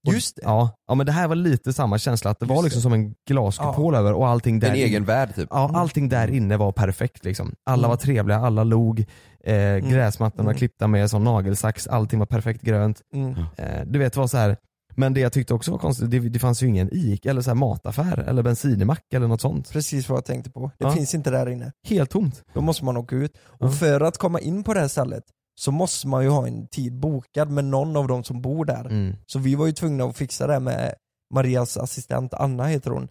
Speaker 2: Och-
Speaker 3: Just det.
Speaker 2: Ja, ja, men det här var lite samma känsla, att det
Speaker 3: Just
Speaker 2: var liksom
Speaker 3: det.
Speaker 2: som en glaskupol över och allting där
Speaker 1: En
Speaker 2: inne-
Speaker 1: egen värld typ.
Speaker 3: Mm.
Speaker 2: Ja, allting där inne var perfekt liksom. Alla var trevliga, alla log, eh, gräsmattan var
Speaker 3: Mm.
Speaker 2: klippta med sån nagelsax, allting var perfekt grönt.
Speaker 3: Mm.
Speaker 2: Eh, du vet, det var så här. Men det jag tyckte också var konstigt, det, det fanns ju ingen IK eller så här mataffär eller bensinmack eller något sånt.
Speaker 3: Precis vad jag tänkte på. Det
Speaker 2: Ja.
Speaker 3: finns inte där inne.
Speaker 2: Helt tomt.
Speaker 3: Då måste man åka ut. Och
Speaker 2: Ja.
Speaker 3: för att komma in på det här stället så måste man ju ha en tid bokad med någon av de som bor
Speaker 2: Mm.
Speaker 3: där. Så vi var ju tvungna att fixa det här med Marias assistent Anna heter hon.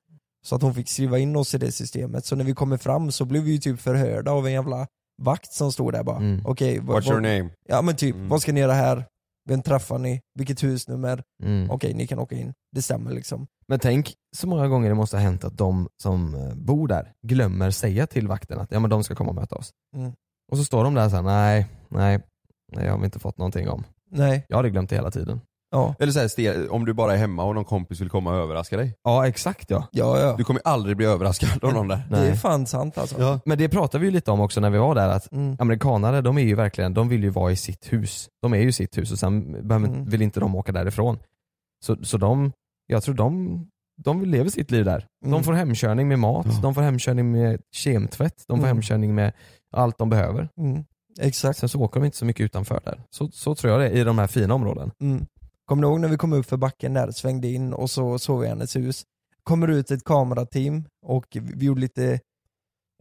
Speaker 3: Så att hon fick skriva in oss i det systemet. Så när vi kommer fram så blev vi ju typ förhörda av en jävla vakt som stod där bara.
Speaker 2: Mm.
Speaker 3: Okej, vad-
Speaker 1: What's your
Speaker 3: vad-
Speaker 1: name?
Speaker 3: ja men typ,
Speaker 1: Mm.
Speaker 3: vad ska ni göra här? Vem träffar ni? Vilket husnummer?
Speaker 2: Mm.
Speaker 3: Okej, ni kan åka in. Det stämmer liksom.
Speaker 2: Men tänk så många gånger det måste ha hänt att de som eh, bor där glömmer säga till vakten att ja, men de ska komma och möta oss.
Speaker 3: Mm.
Speaker 2: Och så står de där såhär, nej, nej, nej, jag har vi inte fått någonting om.
Speaker 3: Nej,
Speaker 2: Jag hade glömt det hela tiden.
Speaker 3: ja.
Speaker 1: Eller så här, ste- om du bara är hemma och någon kompis vill komma och överraska dig.
Speaker 2: Ja exakt ja.
Speaker 3: Ja, ja.
Speaker 1: Du kommer aldrig bli överraskad av någon där.
Speaker 3: Det är
Speaker 2: Nej.
Speaker 3: fan sant alltså.
Speaker 2: Men det pratade vi ju lite om också när vi var där att
Speaker 3: Mm.
Speaker 2: amerikanare de är ju verkligen, de vill ju vara i sitt hus. De är ju i sitt hus och sen behöver,
Speaker 3: Mm.
Speaker 2: vill inte de åka därifrån. Så, så de, jag tror de, de vill leva sitt liv där.
Speaker 3: Mm.
Speaker 2: De får hemkörning med mat,
Speaker 1: Ja.
Speaker 2: de får hemkörning med kemtvätt, de får
Speaker 3: Mm.
Speaker 2: hemkörning med allt de behöver.
Speaker 3: Mm. Exakt.
Speaker 2: Sen så åker de inte så mycket utanför där. Så, så tror jag det är i de här fina områden.
Speaker 3: Mm. Kommer du ihåg när vi kom upp för backen där, svängde in och så såg vi hennes hus. Kommer ut ett kamerateam och vi gjorde lite,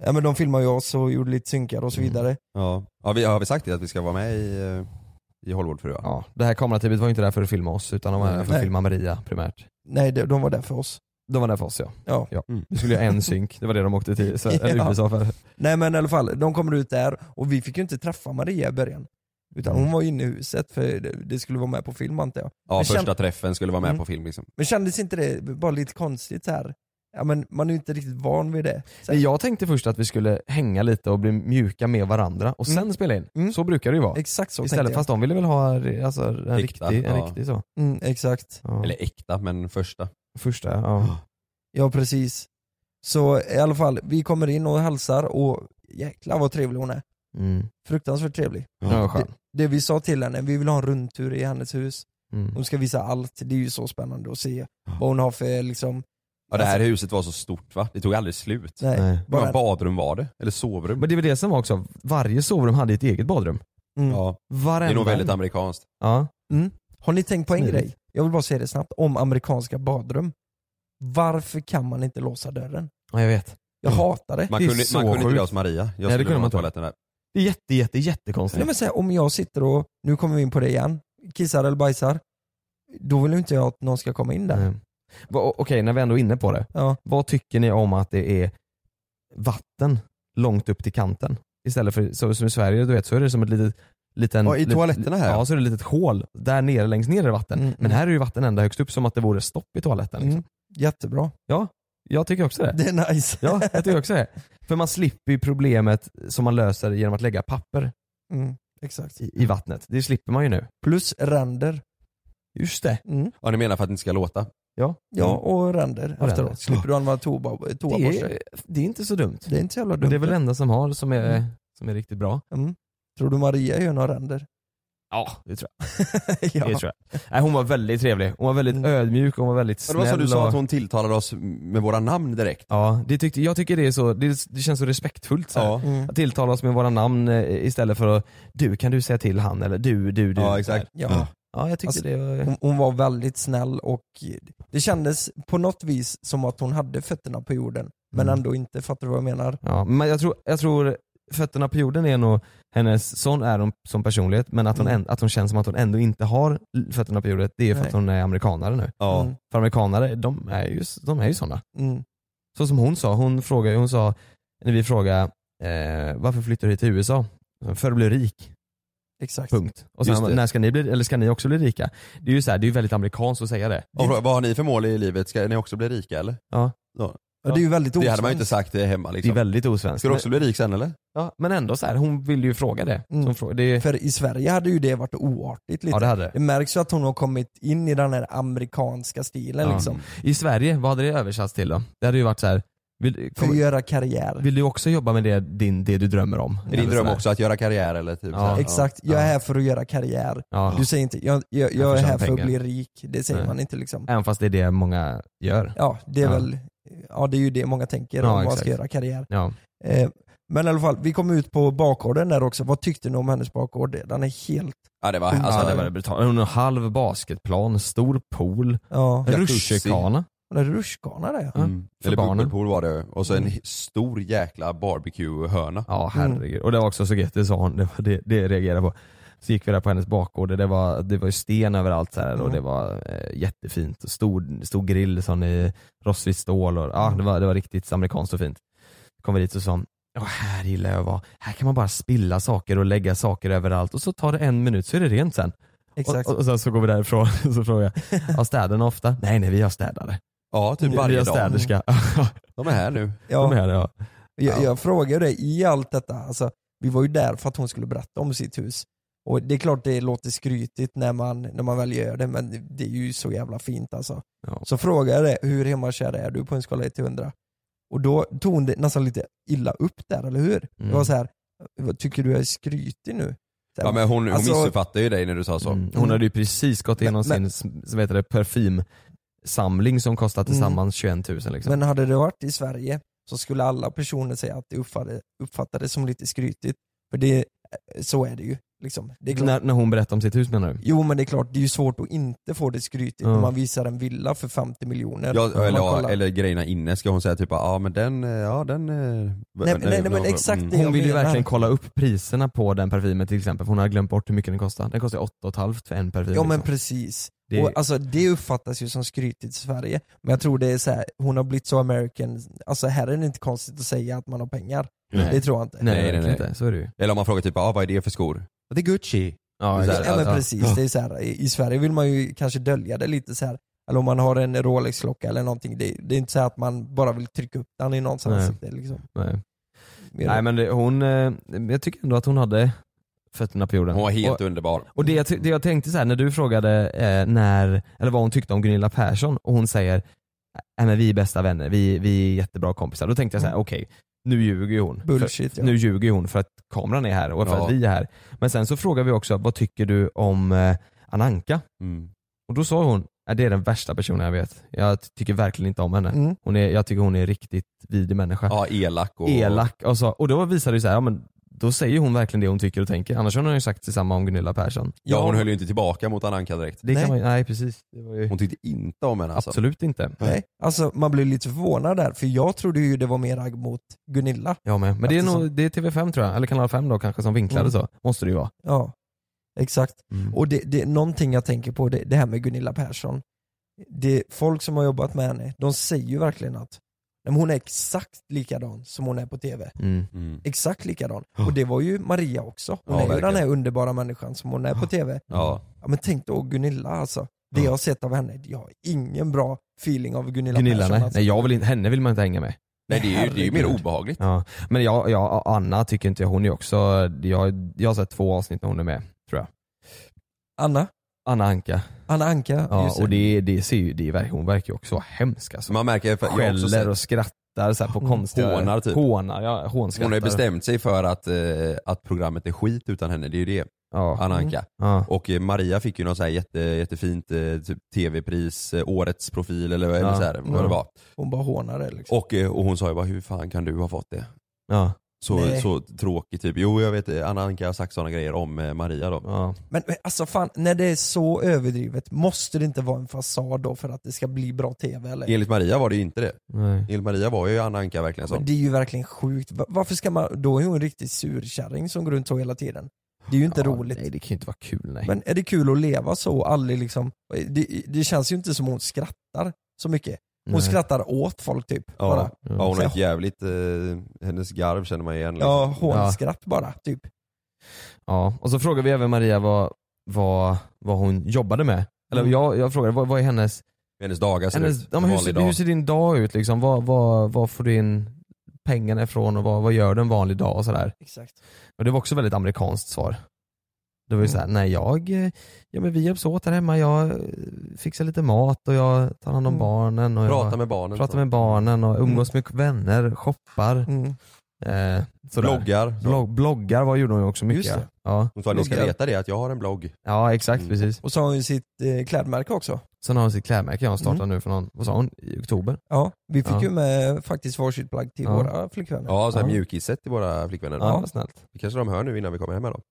Speaker 3: ja men de filmade ju oss och gjorde lite synkar och så
Speaker 2: Mm.
Speaker 3: vidare.
Speaker 1: Ja. Ja, vi, har vi sagt det att vi ska vara med i, eh, i Hollywood fru?
Speaker 2: Ja, det här kamerateamet var ju inte där för att filma oss utan de var där för att
Speaker 3: Nej.
Speaker 2: filma Maria primärt.
Speaker 3: Nej, de, de var där för oss.
Speaker 2: De var där för oss ja.
Speaker 3: Ja.
Speaker 2: ja.
Speaker 1: Mm.
Speaker 2: Vi skulle göra en synk, det var det de åkte till så, eller
Speaker 3: Ja.
Speaker 2: USA för.
Speaker 3: Nej men i alla fall, de kommer ut där och vi fick ju inte träffa Maria i början. Utan
Speaker 2: Mm.
Speaker 3: hon var inne i huset för det- det skulle vara med på film antar jag.
Speaker 1: Ja,
Speaker 3: Men
Speaker 1: första
Speaker 3: känd-
Speaker 1: träffen skulle vara med
Speaker 3: Mm.
Speaker 1: på film liksom.
Speaker 3: Men kändes inte det bara lite konstigt så här? Ja men man är ju inte riktigt van vid det. Så
Speaker 2: Nej,
Speaker 3: här,
Speaker 2: Jag tänkte först att vi skulle hänga lite och bli mjuka med varandra och sen
Speaker 3: Mm.
Speaker 2: spela in.
Speaker 3: Mm.
Speaker 2: Så brukar det ju vara.
Speaker 3: Exakt så
Speaker 2: Istället,
Speaker 3: tänkte
Speaker 2: fast de ville väl ha alltså, en,
Speaker 1: Äkta,
Speaker 2: riktig, en
Speaker 1: ja.
Speaker 2: riktig så.
Speaker 3: jag. Mm, exakt.
Speaker 2: Ja.
Speaker 1: Eller äkta, men första.
Speaker 2: Första, ja.
Speaker 3: Ja precis. Så i alla fall, vi kommer in och hälsar och jäklar vad trevlig hon är.
Speaker 2: Mm.
Speaker 3: Fruktansvärt trevlig.
Speaker 2: Ja, vad skön.
Speaker 3: Det vi sa till henne, vi vill ha en rundtur i hennes hus.
Speaker 2: Mm.
Speaker 3: Hon ska visa allt, det är ju så spännande att se vad hon har för liksom...
Speaker 1: Ja, det här huset var så stort va? Det tog aldrig slut.
Speaker 3: Nej,
Speaker 2: Alltså- Nej. Mm.
Speaker 1: Hur många
Speaker 3: bara...
Speaker 1: badrum var det? Eller sovrum?
Speaker 2: Men det var det som var också, varje sovrum hade ett eget badrum.
Speaker 3: Mm.
Speaker 1: Ja, det
Speaker 2: Varenda.
Speaker 1: är nog väldigt amerikanskt.
Speaker 2: ja.
Speaker 3: Har ni tänkt på en
Speaker 2: Smidigt.
Speaker 3: grej? Jag vill bara säga det snabbt, om amerikanska badrum. Varför kan man inte låsa dörren?
Speaker 2: ja, jag vet.
Speaker 3: Jag
Speaker 2: Mm.
Speaker 3: hatar det.
Speaker 1: Man
Speaker 2: Det är
Speaker 1: kunde,
Speaker 2: så
Speaker 1: man kunde inte
Speaker 2: sjukt.
Speaker 1: göra som Maria. Jag
Speaker 2: det
Speaker 1: skulle
Speaker 2: kunde
Speaker 1: kunde
Speaker 2: man
Speaker 1: man
Speaker 2: inte.
Speaker 1: toaletten där.
Speaker 2: Det är jätte, jätte, jättekonstigt.
Speaker 3: Nej, men så här, om jag sitter och, nu kommer vi in på det igen, kissar eller bajsar, då vill ju inte jag att någon ska komma in där.
Speaker 2: Nej. Va- o- Okej, när vi ändå är inne på det.
Speaker 3: Ja.
Speaker 2: Vad tycker ni om att det är vatten långt upp till kanten? Istället för, så, som i Sverige, du vet, så är det som ett litet Liten,
Speaker 1: Ja, i
Speaker 2: lit-
Speaker 1: toaletterna här, ja.
Speaker 2: Ja, så är det ett litet hål. Där nere, längst ner är det vatten.
Speaker 3: Mm,
Speaker 2: Men
Speaker 3: mm.
Speaker 2: här är ju vatten ända högst upp, som att det vore stopp i toaletten. Liksom.
Speaker 3: Mm. Jättebra.
Speaker 2: Jag tycker också det.
Speaker 3: Det är nice.
Speaker 2: Ja, jag tycker också det. För man slipper ju problemet som man löser genom att lägga papper
Speaker 3: Mm, exakt.
Speaker 2: i, i vattnet. Det slipper man ju nu.
Speaker 3: Plus ränder.
Speaker 2: Just det.
Speaker 3: Mm.
Speaker 1: Ja, ni menar för att det inte ska låta?
Speaker 2: Ja.
Speaker 3: Ja, och ränder
Speaker 2: Och
Speaker 3: efteråt.
Speaker 2: ränder.
Speaker 3: Slipper du använda toa-
Speaker 2: Det,
Speaker 3: toaborste.
Speaker 2: är, det är inte så dumt.
Speaker 3: Det är inte så jävla dumt.
Speaker 2: Men det är väl det enda som har som är,
Speaker 3: Mm.
Speaker 2: som är riktigt bra.
Speaker 3: mm. Tror du Maria gör några ränder?
Speaker 2: Ja, det tror jag.
Speaker 3: ja.
Speaker 2: Det tror jag. Nej, hon var väldigt trevlig. Hon var väldigt
Speaker 3: Mm.
Speaker 2: ödmjuk, hon var väldigt
Speaker 1: Ja,
Speaker 2: snäll.
Speaker 1: det var som du sa,
Speaker 2: och-
Speaker 1: att hon tilltalade oss med våra namn direkt.
Speaker 2: Ja, det tyckte, jag tycker det är så, det, det känns så respektfullt. Så här.
Speaker 1: Ja.
Speaker 3: Mm.
Speaker 2: Att tilltala oss med våra namn eh, istället för att du, kan du säga till han? Eller du, du, du.
Speaker 1: Ja, exakt.
Speaker 3: Ja.
Speaker 2: Ja, jag tyckte
Speaker 3: Alltså,
Speaker 2: det var...
Speaker 3: Hon, hon var väldigt snäll och det kändes på något vis som att hon hade fötterna på jorden men
Speaker 2: Mm.
Speaker 3: ändå inte. Fattar du vad jag menar?
Speaker 2: Ja, men jag tror, jag tror fötterna på jorden är nog hennes, sån är hon som personlighet, men att hon,
Speaker 3: Mm.
Speaker 2: än- att hon känns som att hon ändå inte har l- fötterna på jorden, det är för
Speaker 3: Nej.
Speaker 2: att hon är amerikanare nu.
Speaker 1: Ja.
Speaker 3: Mm.
Speaker 2: För amerikanare, de är ju, s- de är ju sådana.
Speaker 3: Mm.
Speaker 2: Så som hon sa, hon, frågade, hon sa, när vi frågade eh, varför flyttar du hit till USA? För att bli rik,
Speaker 3: Exakt.
Speaker 2: punkt. Och
Speaker 1: Just det.
Speaker 2: sen, när ska ni, bli, eller ska ni också bli rika? Det är ju så här, det är ju väldigt amerikanskt att säga det.
Speaker 1: Och fråga, vad har ni för mål i livet? Ska ni också bli rika eller?
Speaker 3: Ja, det är ju väldigt
Speaker 1: Det hade man ju inte
Speaker 3: osvenskt.
Speaker 1: sagt eh, hemma
Speaker 2: Det är
Speaker 1: liksom.
Speaker 2: väldigt osvenskt.
Speaker 1: Ska du också bli rik sen eller?
Speaker 2: men, ja, men ändå så här, hon ville ju fråga det. Så
Speaker 3: Mm.
Speaker 2: hon frågade, det
Speaker 3: För i Sverige hade ju det varit oartigt lite.
Speaker 2: ja det hade det.
Speaker 3: det märks ju att hon har kommit in i den här amerikanska stilen
Speaker 2: Ja.
Speaker 3: liksom.
Speaker 2: I Sverige, vad hade det översatts till då? Det hade ju varit så här. Vill,
Speaker 3: För
Speaker 2: kom,
Speaker 3: att göra karriär.
Speaker 2: vill du också jobba med det, din, det du drömmer om?
Speaker 1: Är din
Speaker 2: Eller
Speaker 1: dröm
Speaker 2: sådär.
Speaker 1: också att göra karriär eller? Typ,
Speaker 2: Ja,
Speaker 1: så här?
Speaker 3: Exakt, jag är
Speaker 2: Ja.
Speaker 3: här för att göra karriär.
Speaker 2: Ja.
Speaker 3: Du säger inte, jag, jag, jag
Speaker 2: Jag
Speaker 3: är
Speaker 2: förtjänar
Speaker 3: här för att
Speaker 2: pengar.
Speaker 3: bli rik. Det säger
Speaker 2: Nej.
Speaker 3: man inte liksom.
Speaker 2: Även fast det är det många gör.
Speaker 3: Ja, det är
Speaker 2: Ja.
Speaker 3: väl, ja det är ju det många tänker
Speaker 2: Ja,
Speaker 3: om man
Speaker 2: exakt.
Speaker 3: ska göra karriär.
Speaker 2: Ja.
Speaker 3: Eh, men i alla fall, vi kom ut på bakgården där också. Vad tyckte ni om hennes bakgård? Den är helt...
Speaker 1: Ja, det var, alltså,
Speaker 2: ja, det
Speaker 1: det
Speaker 2: var det brutalt. Hon har en halv basketplan, stor pool,
Speaker 3: Ja,
Speaker 2: en
Speaker 1: Jacuzzi.
Speaker 2: rutschkana.
Speaker 3: den är rutschkana där ja.
Speaker 2: Ja.
Speaker 1: Mm.
Speaker 2: För
Speaker 1: Eller
Speaker 2: barnen.
Speaker 1: bubbelpool var det Och så en
Speaker 3: Mm.
Speaker 1: hi- stor jäkla barbecue-hörna.
Speaker 2: Ja herregud. Och det var också så gött, det sa hon, det, var det, det reagerade jag på. Så gick vi där på hennes bakgård och det var, det var ju sten överallt så här, och
Speaker 3: Mm.
Speaker 2: det var eh, jättefint. Och stor, stor grill sån i rostfritt stål och ah, det, var, det var riktigt amerikanskt och fint. Kom vi dit och sa Ja här gillar jag att vara, här kan man bara spilla saker och lägga saker överallt och så tar det en minut så är det rent sen.
Speaker 3: Exakt.
Speaker 2: Och, och, och sen så går vi därifrån och så frågar jag, har städarna ofta? Nej nej vi har städare.
Speaker 1: Ja, typ
Speaker 2: Vi- vi
Speaker 1: varje
Speaker 2: har
Speaker 1: dag.
Speaker 2: städerska.
Speaker 1: De är här nu.
Speaker 2: De är
Speaker 3: ja,
Speaker 2: här, ja.
Speaker 3: jag, jag frågade dig i allt detta, alltså, vi var ju där för att hon skulle berätta om sitt hus. Och det är klart det låter skrytigt när man, när man väl gör det, men det är ju så jävla fint alltså.
Speaker 2: Ja.
Speaker 3: Så frågade jag dig, hur hemmakär är du på en skala 1 till 100? Och då tog hon det nästan lite illa upp där, eller hur?
Speaker 2: Mm.
Speaker 3: Det var så här, vad tycker du jag är skrytig nu? Så här,
Speaker 1: Ja, men hon, hon
Speaker 3: Alltså-
Speaker 1: missuppfattade ju dig när du sa så.
Speaker 2: Mm. Hon hade ju precis gått igenom
Speaker 3: Men- men-
Speaker 2: sin s- vad heter det, parfymsamling som kostar
Speaker 3: Mm.
Speaker 2: tillsammans 21 000 liksom.
Speaker 3: Men hade det varit i Sverige så skulle alla personer säga att det uppfattades, uppfattades som lite skrytigt. För det, så är det ju. Liksom. Det är klart.
Speaker 2: när, när hon berättade om sitt hus menar du?
Speaker 3: Jo men det är klart, det är ju svårt att inte få det skrytigt
Speaker 2: Ja.
Speaker 3: när man visar en villa för 50 miljoner.
Speaker 1: Ja,
Speaker 3: Om
Speaker 1: eller,
Speaker 3: man
Speaker 1: ja,
Speaker 3: kollar.
Speaker 1: eller grejerna inne, ska hon säga typ ja men den, eh, ja den... Nej,
Speaker 3: nej, nej, men exakt det.
Speaker 2: Hon
Speaker 3: jag
Speaker 2: ville ju
Speaker 3: menar.
Speaker 2: verkligen kolla upp priserna på den parfymen till exempel, för hon hade glömt bort hur mycket den kostade. Den kostade 8 500 för en parfym.
Speaker 3: Ja men
Speaker 2: liksom.
Speaker 3: precis.
Speaker 2: Det,
Speaker 3: Och alltså det uppfattas ju som skrytigt i Sverige, men jag tror det är så här, hon har blivit så American, alltså här är det inte konstigt att säga att man har pengar.
Speaker 1: Nej.
Speaker 3: Det tror jag inte.
Speaker 2: nej,
Speaker 1: nej,
Speaker 2: verkligen
Speaker 1: nej.
Speaker 2: inte. Så är det ju.
Speaker 1: Eller om man frågar typ, ah, vad är det för skor? Det är Gucci.
Speaker 2: Ja,
Speaker 1: exakt.
Speaker 3: Ja men
Speaker 2: Ja.
Speaker 3: precis, det är så här, i, i Sverige vill man ju kanske dölja det lite så här. eller om man har en Rolex-klocka eller någonting, det, det är inte så här att man bara vill trycka upp den i någons
Speaker 2: Nej.
Speaker 3: ansikte liksom.
Speaker 2: Nej.
Speaker 3: Mer-
Speaker 2: Nej men det, hon, eh, jag tycker ändå att hon hade fötterna på jorden.
Speaker 1: Hon var helt
Speaker 2: och,
Speaker 1: underbar.
Speaker 2: och det, jag, ty- det jag tänkte så här när du frågade eh, när, eller vad hon tyckte om Gunilla Persson och hon säger Nej men vi är bästa vänner, vi, vi är jättebra kompisar. Då tänkte jag så
Speaker 1: Mm.
Speaker 2: här: okej, nu ljuger ju hon. För,
Speaker 3: Bullshit ja.
Speaker 2: nu ljuger hon för att kameran är här och för
Speaker 1: Ja.
Speaker 2: att vi är här. Men sen så frågar vi också, vad tycker du om eh, Ananka?
Speaker 1: Mm.
Speaker 2: Och då sa hon, "Ja, det är den värsta personen jag vet. Jag tycker verkligen inte om henne.
Speaker 3: Mm.
Speaker 2: Hon är, jag tycker hon är en riktigt vidrig människa
Speaker 1: Ja, elak och...
Speaker 2: elak och, så, och då visar det sig, ja men då säger hon verkligen det hon tycker och tänker. Annars har hon ju sagt detsamma om Gunilla Persson.
Speaker 1: Ja, hon höll ju inte tillbaka mot Ananka direkt.
Speaker 2: det
Speaker 3: Nej.
Speaker 2: kan man, ju- nej precis. Det var ju,
Speaker 1: Hon tyckte inte om henne alltså.
Speaker 2: Absolut inte.
Speaker 3: Nej. Alltså man blir lite förvånad där, för jag trodde ju det var mer agg mot Gunilla.
Speaker 2: Jag med. Men det är,
Speaker 3: Eftersom-
Speaker 2: nog, det är TV5 tror jag, eller kanal 5 då kanske som vinklade
Speaker 3: Mm.
Speaker 2: så. Måste det ju vara.
Speaker 3: Ja, exakt.
Speaker 2: Mm.
Speaker 3: Och det, det är någonting jag tänker på, det, det här med Gunilla Persson. Det, folk som har jobbat med henne, de säger ju verkligen att "Nej, men hon är exakt likadan som hon är på TV.
Speaker 2: Mm.
Speaker 1: Mm.
Speaker 3: Exakt likadan.
Speaker 1: Ja.
Speaker 3: Och det var ju Maria också. Hon
Speaker 1: Ja,
Speaker 3: är ju
Speaker 1: verkligen.
Speaker 3: den här underbara människan som hon är på TV.
Speaker 1: Ja.
Speaker 3: Ja, men tänk då Gunilla alltså. Det
Speaker 1: Ja.
Speaker 3: jag har sett av henne, jag har ingen bra feeling av Gunilla,
Speaker 2: Gunilla,
Speaker 3: Persson.
Speaker 2: nej.
Speaker 3: Alltså.
Speaker 2: nej jag vill inte, henne vill man inte hänga med.
Speaker 1: Nej det är ju det är ju mer
Speaker 3: Herregud.
Speaker 1: obehagligt.
Speaker 2: Ja. Men jag, jag, Anna tycker inte jag, hon är också, jag, jag har sett två avsnitt när hon är med.
Speaker 3: Anna,
Speaker 2: Anna Anka.
Speaker 3: Anna Anka.
Speaker 2: Ja,
Speaker 3: just
Speaker 2: och det, det ser ju, det är, verk- hon verkar ju också vara hemsk alltså.
Speaker 1: Man märker, för, jag har också
Speaker 2: Skäller
Speaker 1: sett,
Speaker 2: och skrattar så här, på
Speaker 3: Hon
Speaker 2: konstiga...
Speaker 1: hånar typ.
Speaker 2: Hånar, ja, hånskrattar.
Speaker 1: hon har ju bestämt sig för att, eh, att programmet är skit utan henne, det är ju det,
Speaker 2: Ja.
Speaker 1: Ananka.
Speaker 2: Ja.
Speaker 1: Och eh, Maria fick ju något så här jätte, jättefint eh, typ, tv-pris, eh, årets profil eller, eller
Speaker 2: Ja.
Speaker 1: så här, vad
Speaker 2: Ja.
Speaker 1: det var.
Speaker 3: Hon bara hånar det liksom.
Speaker 1: Och, eh, och hon sa ju bara, hur fan kan du ha fått det?
Speaker 2: Ja.
Speaker 1: Så,
Speaker 3: Nej.
Speaker 1: så tråkigt typ. Jo jag vet det, Ananka har sagt sådana grejer om eh, Maria då.
Speaker 2: Ja.
Speaker 3: Men, men alltså fan, när det är så överdrivet, måste det inte vara en fasad då för att det ska bli bra TV eller?
Speaker 1: Enligt Maria var det ju inte det.
Speaker 2: Nej.
Speaker 1: Enligt Maria var ju Ananka verkligen så.
Speaker 3: Men det är ju verkligen sjukt. Va- Varför ska man, då är hon en riktig surkärring som går runt så hela tiden. Det är ju inte
Speaker 2: Ja,
Speaker 3: roligt.
Speaker 2: Nej, det kan ju inte vara kul nej.
Speaker 3: Men är det kul att leva så och aldrig liksom, det, det känns ju inte som hon skrattar så mycket. Hon
Speaker 2: nej. liksom.
Speaker 3: skrattar åt folk typ.
Speaker 1: Ja.
Speaker 3: Bara.
Speaker 1: Ja hon har
Speaker 3: Så-
Speaker 1: ett jävligt, eh, hennes garv känner man igen.
Speaker 3: Ja,
Speaker 1: Liksom.
Speaker 3: hånskratt bara typ.
Speaker 2: Ja. Och så frågar vi även Maria vad, vad, vad hon jobbade med. Eller
Speaker 3: Mm.
Speaker 2: jag, jag frågade vad, vad är hennes,
Speaker 1: Hennes dagar ser
Speaker 2: hennes
Speaker 1: ut,
Speaker 2: ja,
Speaker 1: en
Speaker 2: men hur,
Speaker 1: vanlig
Speaker 2: ser,
Speaker 1: dag.
Speaker 2: hur ser din dag ut liksom? Vad, vad, vad får du in pengarna ifrån och vad, vad gör du en vanlig dag och sådär.
Speaker 3: Exakt.
Speaker 2: Och det var också väldigt amerikanskt svar. Det var ju såhär, nej jag, eh, ja men vi hjälps åt här hemma, jag eh, fixar lite mat och jag tar hand om
Speaker 3: Mm.
Speaker 2: barnen och
Speaker 1: Prata
Speaker 2: jag
Speaker 1: med barnen.
Speaker 2: pratar med barnen och umgås med vänner, shoppar.
Speaker 3: Mm.
Speaker 2: Eh, sådär.
Speaker 1: Bloggar. så.
Speaker 2: Blogg, bloggar var gjorde hon ju också mycket.
Speaker 3: Just det.
Speaker 2: Ja.
Speaker 1: Hon sa ni ska
Speaker 3: Bloggar.
Speaker 1: veta det att jag har en blogg.
Speaker 2: ja exakt
Speaker 1: Mm.
Speaker 2: precis.
Speaker 3: Och så har hon ju sitt eh, klädmärke också.
Speaker 2: Sen har hon sitt klädmärke hon startade
Speaker 3: Mm.
Speaker 2: nu för någon, vad sa hon, i oktober?
Speaker 3: Ja, vi fick
Speaker 2: Ja.
Speaker 3: ju med faktiskt varsitt plagg till
Speaker 2: Ja.
Speaker 3: våra flickvänner.
Speaker 1: Ja, så här
Speaker 2: Ja.
Speaker 1: mjukisset till våra flickvänner.
Speaker 2: Ja, vad snällt.
Speaker 1: Det kanske de hör nu innan vi kommer hem med dem.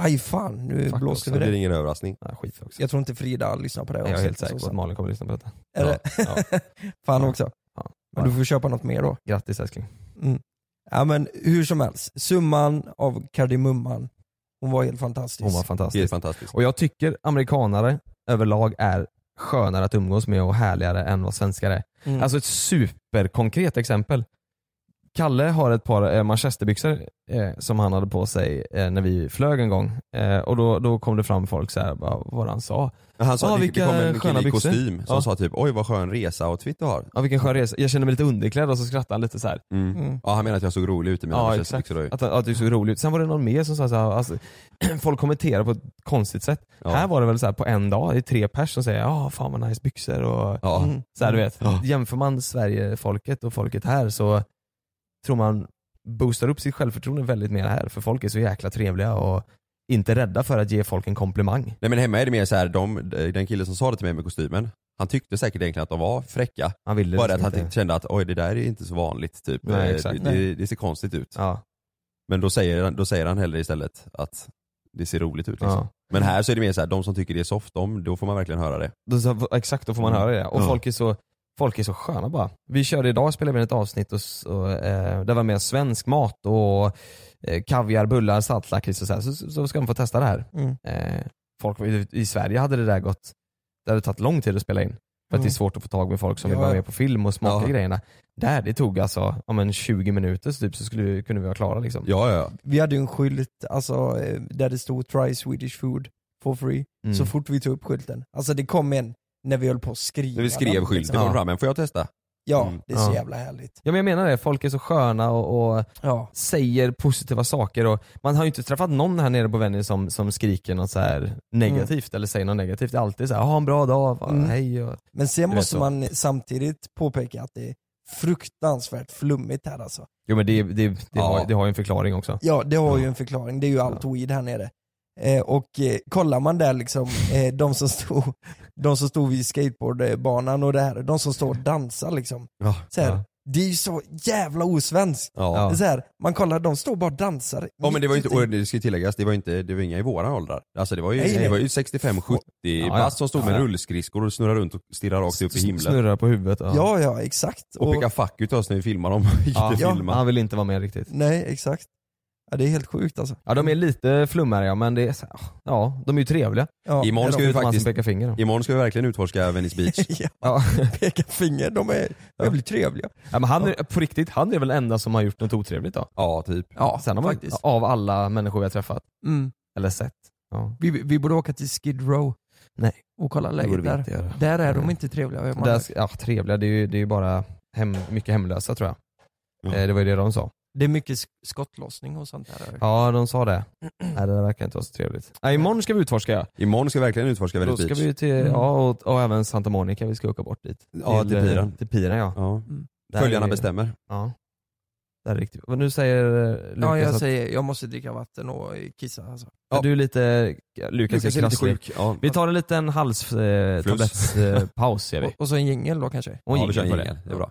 Speaker 3: Aj fan, nu
Speaker 2: Fuck också.
Speaker 3: blåste
Speaker 1: Så
Speaker 3: vi
Speaker 1: det
Speaker 3: det.
Speaker 1: blir ingen överraskning.
Speaker 2: Ja, skit också.
Speaker 3: Jag tror inte Frida lyssnar på det
Speaker 2: Jag är helt
Speaker 3: avsnittet
Speaker 2: säker på
Speaker 3: så
Speaker 2: att Malin kommer att lyssna på detta.
Speaker 3: Är det?
Speaker 2: Ja, ja.
Speaker 3: Fan
Speaker 2: Ja.
Speaker 3: också.
Speaker 2: Ja.
Speaker 3: Men du får köpa något mer då.
Speaker 2: Grattis älskling.
Speaker 3: Ja men hur som helst, summan av kardemumman, hon var helt fantastisk.
Speaker 2: Hon var
Speaker 1: Det är
Speaker 2: fantastisk.
Speaker 1: fantastiskt.
Speaker 2: Och jag tycker amerikanare överlag är skönare att umgås med och härligare än vad svenskar är.
Speaker 3: Mm.
Speaker 2: Alltså ett superkonkret exempel. Kalle har ett par eh, manchesterbyxor eh, som han hade på sig eh, när vi flög en gång. Eh, och då, då kom det fram folk så här, bara, vad han sa.
Speaker 1: Men Han sa
Speaker 2: Ah,
Speaker 1: att det, det
Speaker 2: vilka
Speaker 1: kom en
Speaker 2: sköna
Speaker 1: kille i
Speaker 2: byxor.
Speaker 1: kostym som
Speaker 2: Ja.
Speaker 1: sa typ oj vad skön resa-outfit du har.
Speaker 2: Ja vilken skön resa. Jag kände mig lite underklädd och så skrattade han lite så här.
Speaker 1: Mm.
Speaker 3: Mm.
Speaker 1: Ja, han menar att jag såg rolig ut i mina
Speaker 2: Ja exakt.
Speaker 1: manchesterbyxor då ju.
Speaker 2: Att, att du såg rolig ut. Sen var det någon mer som sa så här, alltså, folk kommenterar på ett konstigt sätt.
Speaker 1: Ja.
Speaker 2: Här var det väl så här på en dag, det är tre pers som säger ja fan vad nice byxor och
Speaker 1: Ja.
Speaker 3: Mm.
Speaker 2: så här, du vet.
Speaker 1: Ja.
Speaker 2: Jämför man Sverige-folket och folket här så tror man boostar upp sitt självförtroende väldigt mer här för folk är så jäkla trevliga och inte rädda för att ge folk en komplimang.
Speaker 1: Nej men hemma är det mer så här, de, den killen som sa det till mig med kostymen, han tyckte säkert egentligen att de var fräcka.
Speaker 2: Han ville
Speaker 1: Bara att
Speaker 2: liksom
Speaker 1: han
Speaker 2: inte.
Speaker 1: kände att oj det där är inte så vanligt typ.
Speaker 2: Nej,
Speaker 1: Eh,
Speaker 2: exakt.
Speaker 1: Det, det, det ser konstigt ut.
Speaker 2: Ja,
Speaker 1: Men då säger, han- då säger han hellre istället att det ser roligt ut liksom.
Speaker 2: ja.
Speaker 1: Men här så är det mer så här, de som tycker det är soft, de, då får man verkligen höra det.
Speaker 2: Då, så, exakt, då får man
Speaker 1: Mm.
Speaker 2: höra det. Och
Speaker 1: Ja.
Speaker 2: folk, är så, folk är så sköna bara. Vi körde idag, spelade vi in ett avsnitt och, s- och eh, där var med svensk mat och eh, kaviar, bullar, saltlakrits och så, här. Så, så så ska de få testa det här.
Speaker 3: Mm.
Speaker 2: Eh, folk i, i Sverige hade det där gått det hade tagit lång tid att spela in. För att det är
Speaker 3: Mm.
Speaker 2: svårt att få tag med folk som vill
Speaker 3: Ja,
Speaker 2: vara
Speaker 3: ja.
Speaker 2: med på film och smaka
Speaker 1: Ja.
Speaker 2: i grejerna. Där, det tog alltså om en 20 minuter så typ så skulle, vi- kunde vi vara klara liksom.
Speaker 1: Ja, ja.
Speaker 3: Vi hade ju en skylt alltså, eh, där det stod “Try Swedish food for free”
Speaker 2: Mm.
Speaker 3: så fort vi tog upp skylten. Alltså det kom en när vi höll på att skriva.
Speaker 1: När vi skrev
Speaker 3: den,
Speaker 1: skylten
Speaker 3: liksom.
Speaker 1: kom
Speaker 2: Ja.
Speaker 1: fram, men får jag testa?
Speaker 3: Ja,
Speaker 1: Mm.
Speaker 3: det är så
Speaker 2: Ja.
Speaker 3: jävla härligt.
Speaker 2: ja men jag menar det, folk är så sköna och, och
Speaker 3: Ja.
Speaker 2: säger positiva saker och man har ju inte träffat någon här nere på Vänern som, som skriker något så här
Speaker 1: Mm.
Speaker 2: negativt eller säger något negativt. Det är alltid så här, "Ah, ha en bra dag, va,
Speaker 3: Mm.
Speaker 2: hej och...
Speaker 3: Men sen
Speaker 2: vet
Speaker 3: måste
Speaker 2: så.
Speaker 3: man samtidigt påpeka att det är fruktansvärt flummigt här alltså.
Speaker 2: Jo men det, det, det,
Speaker 1: Ja.
Speaker 2: har, det har ju en förklaring också.
Speaker 3: Ja, det har ju en förklaring. Det är ju allt weed här nere. Eh, och eh, kollar man där liksom, eh, de, som stod, de som stod vid skateboardbanan och det här, de som står och dansar liksom.
Speaker 1: Ja.
Speaker 3: Så här,
Speaker 2: Ja.
Speaker 3: Det är ju så jävla osvenskt.
Speaker 1: Ja.
Speaker 3: Så här, man kollar, de står och bara och dansar.
Speaker 1: Ja men det var ju inte,
Speaker 3: Mitt
Speaker 1: och
Speaker 3: i-
Speaker 1: det ska tilläggas, det var inte, det var inga i våra åldrar. Alltså det var ju,
Speaker 3: Nej, nej.
Speaker 1: det var ju 65-70
Speaker 2: ja.
Speaker 1: bast som stod med
Speaker 2: Ja.
Speaker 1: rullskridskor och snurrade runt och stirrade rakt upp i himlen.
Speaker 2: Snurrar på huvudet. Ja.
Speaker 3: Ja, ja, exakt.
Speaker 1: Och pekade fuck ut oss när vi filmade dem,
Speaker 2: Ja.
Speaker 1: inte
Speaker 3: Ja.
Speaker 1: filma.
Speaker 2: Han vill inte vara med riktigt.
Speaker 3: nej, exakt. Ja, det är helt sjukt alltså.
Speaker 2: Ja
Speaker 1: Mm.
Speaker 2: de är lite flummariga men det är så, här, ja de är ju trevliga.
Speaker 3: Ja,
Speaker 1: Imorgon ska
Speaker 3: är
Speaker 1: vi
Speaker 2: Förutom han
Speaker 1: faktiskt-
Speaker 2: som pekar finger. då.
Speaker 1: Imorgon ska vi verkligen utforska Venice Beach.
Speaker 3: de- ja,
Speaker 2: Ja.
Speaker 3: peka finger, de är jävligt trevliga.
Speaker 2: Ja, men han är, på riktigt, han är väl den enda som har gjort något otrevligt då?
Speaker 1: Ja typ.
Speaker 3: Ja,
Speaker 2: Sen har man,
Speaker 3: faktiskt.
Speaker 2: Av alla människor vi har träffat,
Speaker 3: Mm.
Speaker 2: eller sett. Ja.
Speaker 3: Vi, vi borde åka till Skid Row
Speaker 2: Nej.
Speaker 3: och kolla läget
Speaker 2: borde vi
Speaker 3: där.
Speaker 2: inte göra.
Speaker 3: Där är de
Speaker 2: Nej.
Speaker 3: inte trevliga. hör man.
Speaker 2: Där, ska- ja, trevliga, det är ju, det är ju bara hem, mycket hemlösa tror jag.
Speaker 1: Ja.
Speaker 2: Eh, Det var ju det de sa.
Speaker 3: Det är mycket sk- skottlossning och sånt där.
Speaker 2: Ja, de sa det. Nej, det där verkar inte vara så trevligt. Nej, imorgon ska vi utforska ja.
Speaker 1: Imorgon ska vi verkligen utforska
Speaker 2: Då
Speaker 1: Venice
Speaker 2: ska
Speaker 1: Beach.
Speaker 2: vi ju till,
Speaker 3: Mm.
Speaker 2: ja och, och även Santa Monica, vi ska åka bort dit.
Speaker 1: Ja, till piren.
Speaker 2: Till piren ja.
Speaker 1: Ja.
Speaker 2: Där
Speaker 1: Följarna
Speaker 2: är-
Speaker 1: bestämmer.
Speaker 2: Ja. Där är riktigt. Men nu säger eh, Lukas
Speaker 3: Ja, jag
Speaker 2: att
Speaker 3: säger jag måste dricka vatten och kissa alltså.
Speaker 2: ja. du är lite, Lukas, är lite sjuk.
Speaker 1: Ja.
Speaker 2: Vi tar en liten halstablettspaus eh, tablettspaus, ser vi.
Speaker 3: Och, och så en jingel då kanske.
Speaker 2: Och
Speaker 1: ja, vi kör
Speaker 2: jingel
Speaker 1: en
Speaker 2: på
Speaker 1: jingel. Det är bra.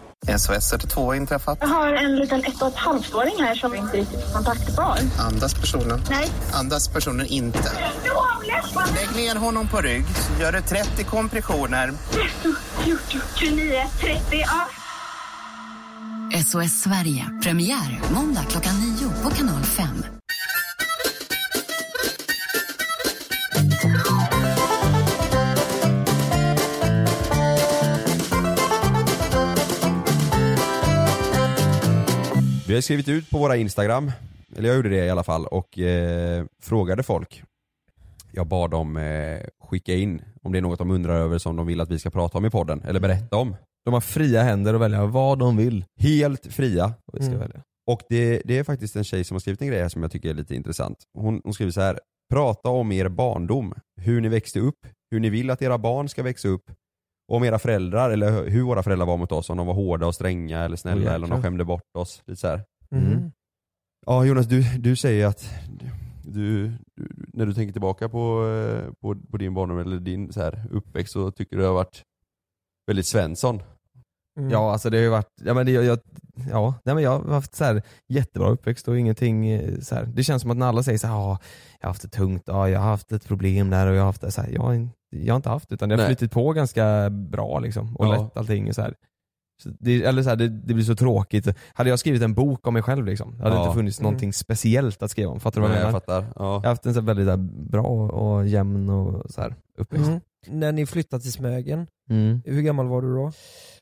Speaker 4: SOS 112 har inträffat.
Speaker 5: Jag har en liten ett och ett halvt-åring här som inte riktigt är kontaktbar.
Speaker 4: Andas personen?
Speaker 5: Nej.
Speaker 4: Andas personen inte? Lägg ner honom på rygg, så gör du 30 kompressioner.
Speaker 5: 13, 14, 29, 30. Ja.
Speaker 6: SOS Sverige. Premiär måndag klockan 9 på kanal 5.
Speaker 1: Vi har skrivit ut på våra Instagram, eller jag gjorde det i alla fall, och eh, frågade folk. Jag bad dem eh, skicka in om det är något de undrar över som de vill att vi ska prata om i podden, eller berätta om.
Speaker 2: De har fria händer att välja vad de vill.
Speaker 1: Helt fria.
Speaker 2: Och vi ska
Speaker 3: Mm.
Speaker 2: välja.
Speaker 1: Och det, det är faktiskt en tjej som har skrivit en grej här som jag tycker är lite intressant. Hon, hon skriver så här. Prata om er barndom, hur ni växte upp, hur ni vill att era barn ska växa upp, om era föräldrar eller hur- hur våra föräldrar var mot oss, om de var hårda och stränga eller snälla
Speaker 2: Åh,
Speaker 1: eller om de
Speaker 2: jäklar.
Speaker 1: skämde bort oss. Lite så här.
Speaker 2: Mm.
Speaker 1: Ja Jonas, du, du säger att du, du, när du tänker tillbaka på, eh, på, på din barndom eller din så här, uppväxt så tycker du det har varit väldigt Svensson.
Speaker 3: Mm.
Speaker 2: Ja alltså det har ju varit, ja men det, jag, jag, ja, nej, men jag har haft så här jättebra uppväxt och ingenting eh, så här. Det känns som att när alla säger så här, "Ja, jag har haft det tungt, ja, jag har haft ett problem där och jag har haft det så här, jag, har in- jag har inte haft det utan det har
Speaker 1: Nej.
Speaker 2: flyttat på ganska bra liksom och
Speaker 1: Ja.
Speaker 2: lätt allting och så här. Så det, eller så här, det, det blir så tråkigt. Hade jag skrivit en bok om mig själv liksom, hade det
Speaker 1: Ja.
Speaker 2: inte funnits
Speaker 3: Mm.
Speaker 2: någonting speciellt att skriva om. Fattar du vad
Speaker 1: Men
Speaker 2: jag
Speaker 1: jag
Speaker 2: menar?
Speaker 1: fattar. Ja.
Speaker 2: Jag har haft en så här väldigt så här, bra och jämn och så här, uppväxt.
Speaker 3: Mm. När ni flyttade till Smögen,
Speaker 2: Mm.
Speaker 3: hur gammal var du då?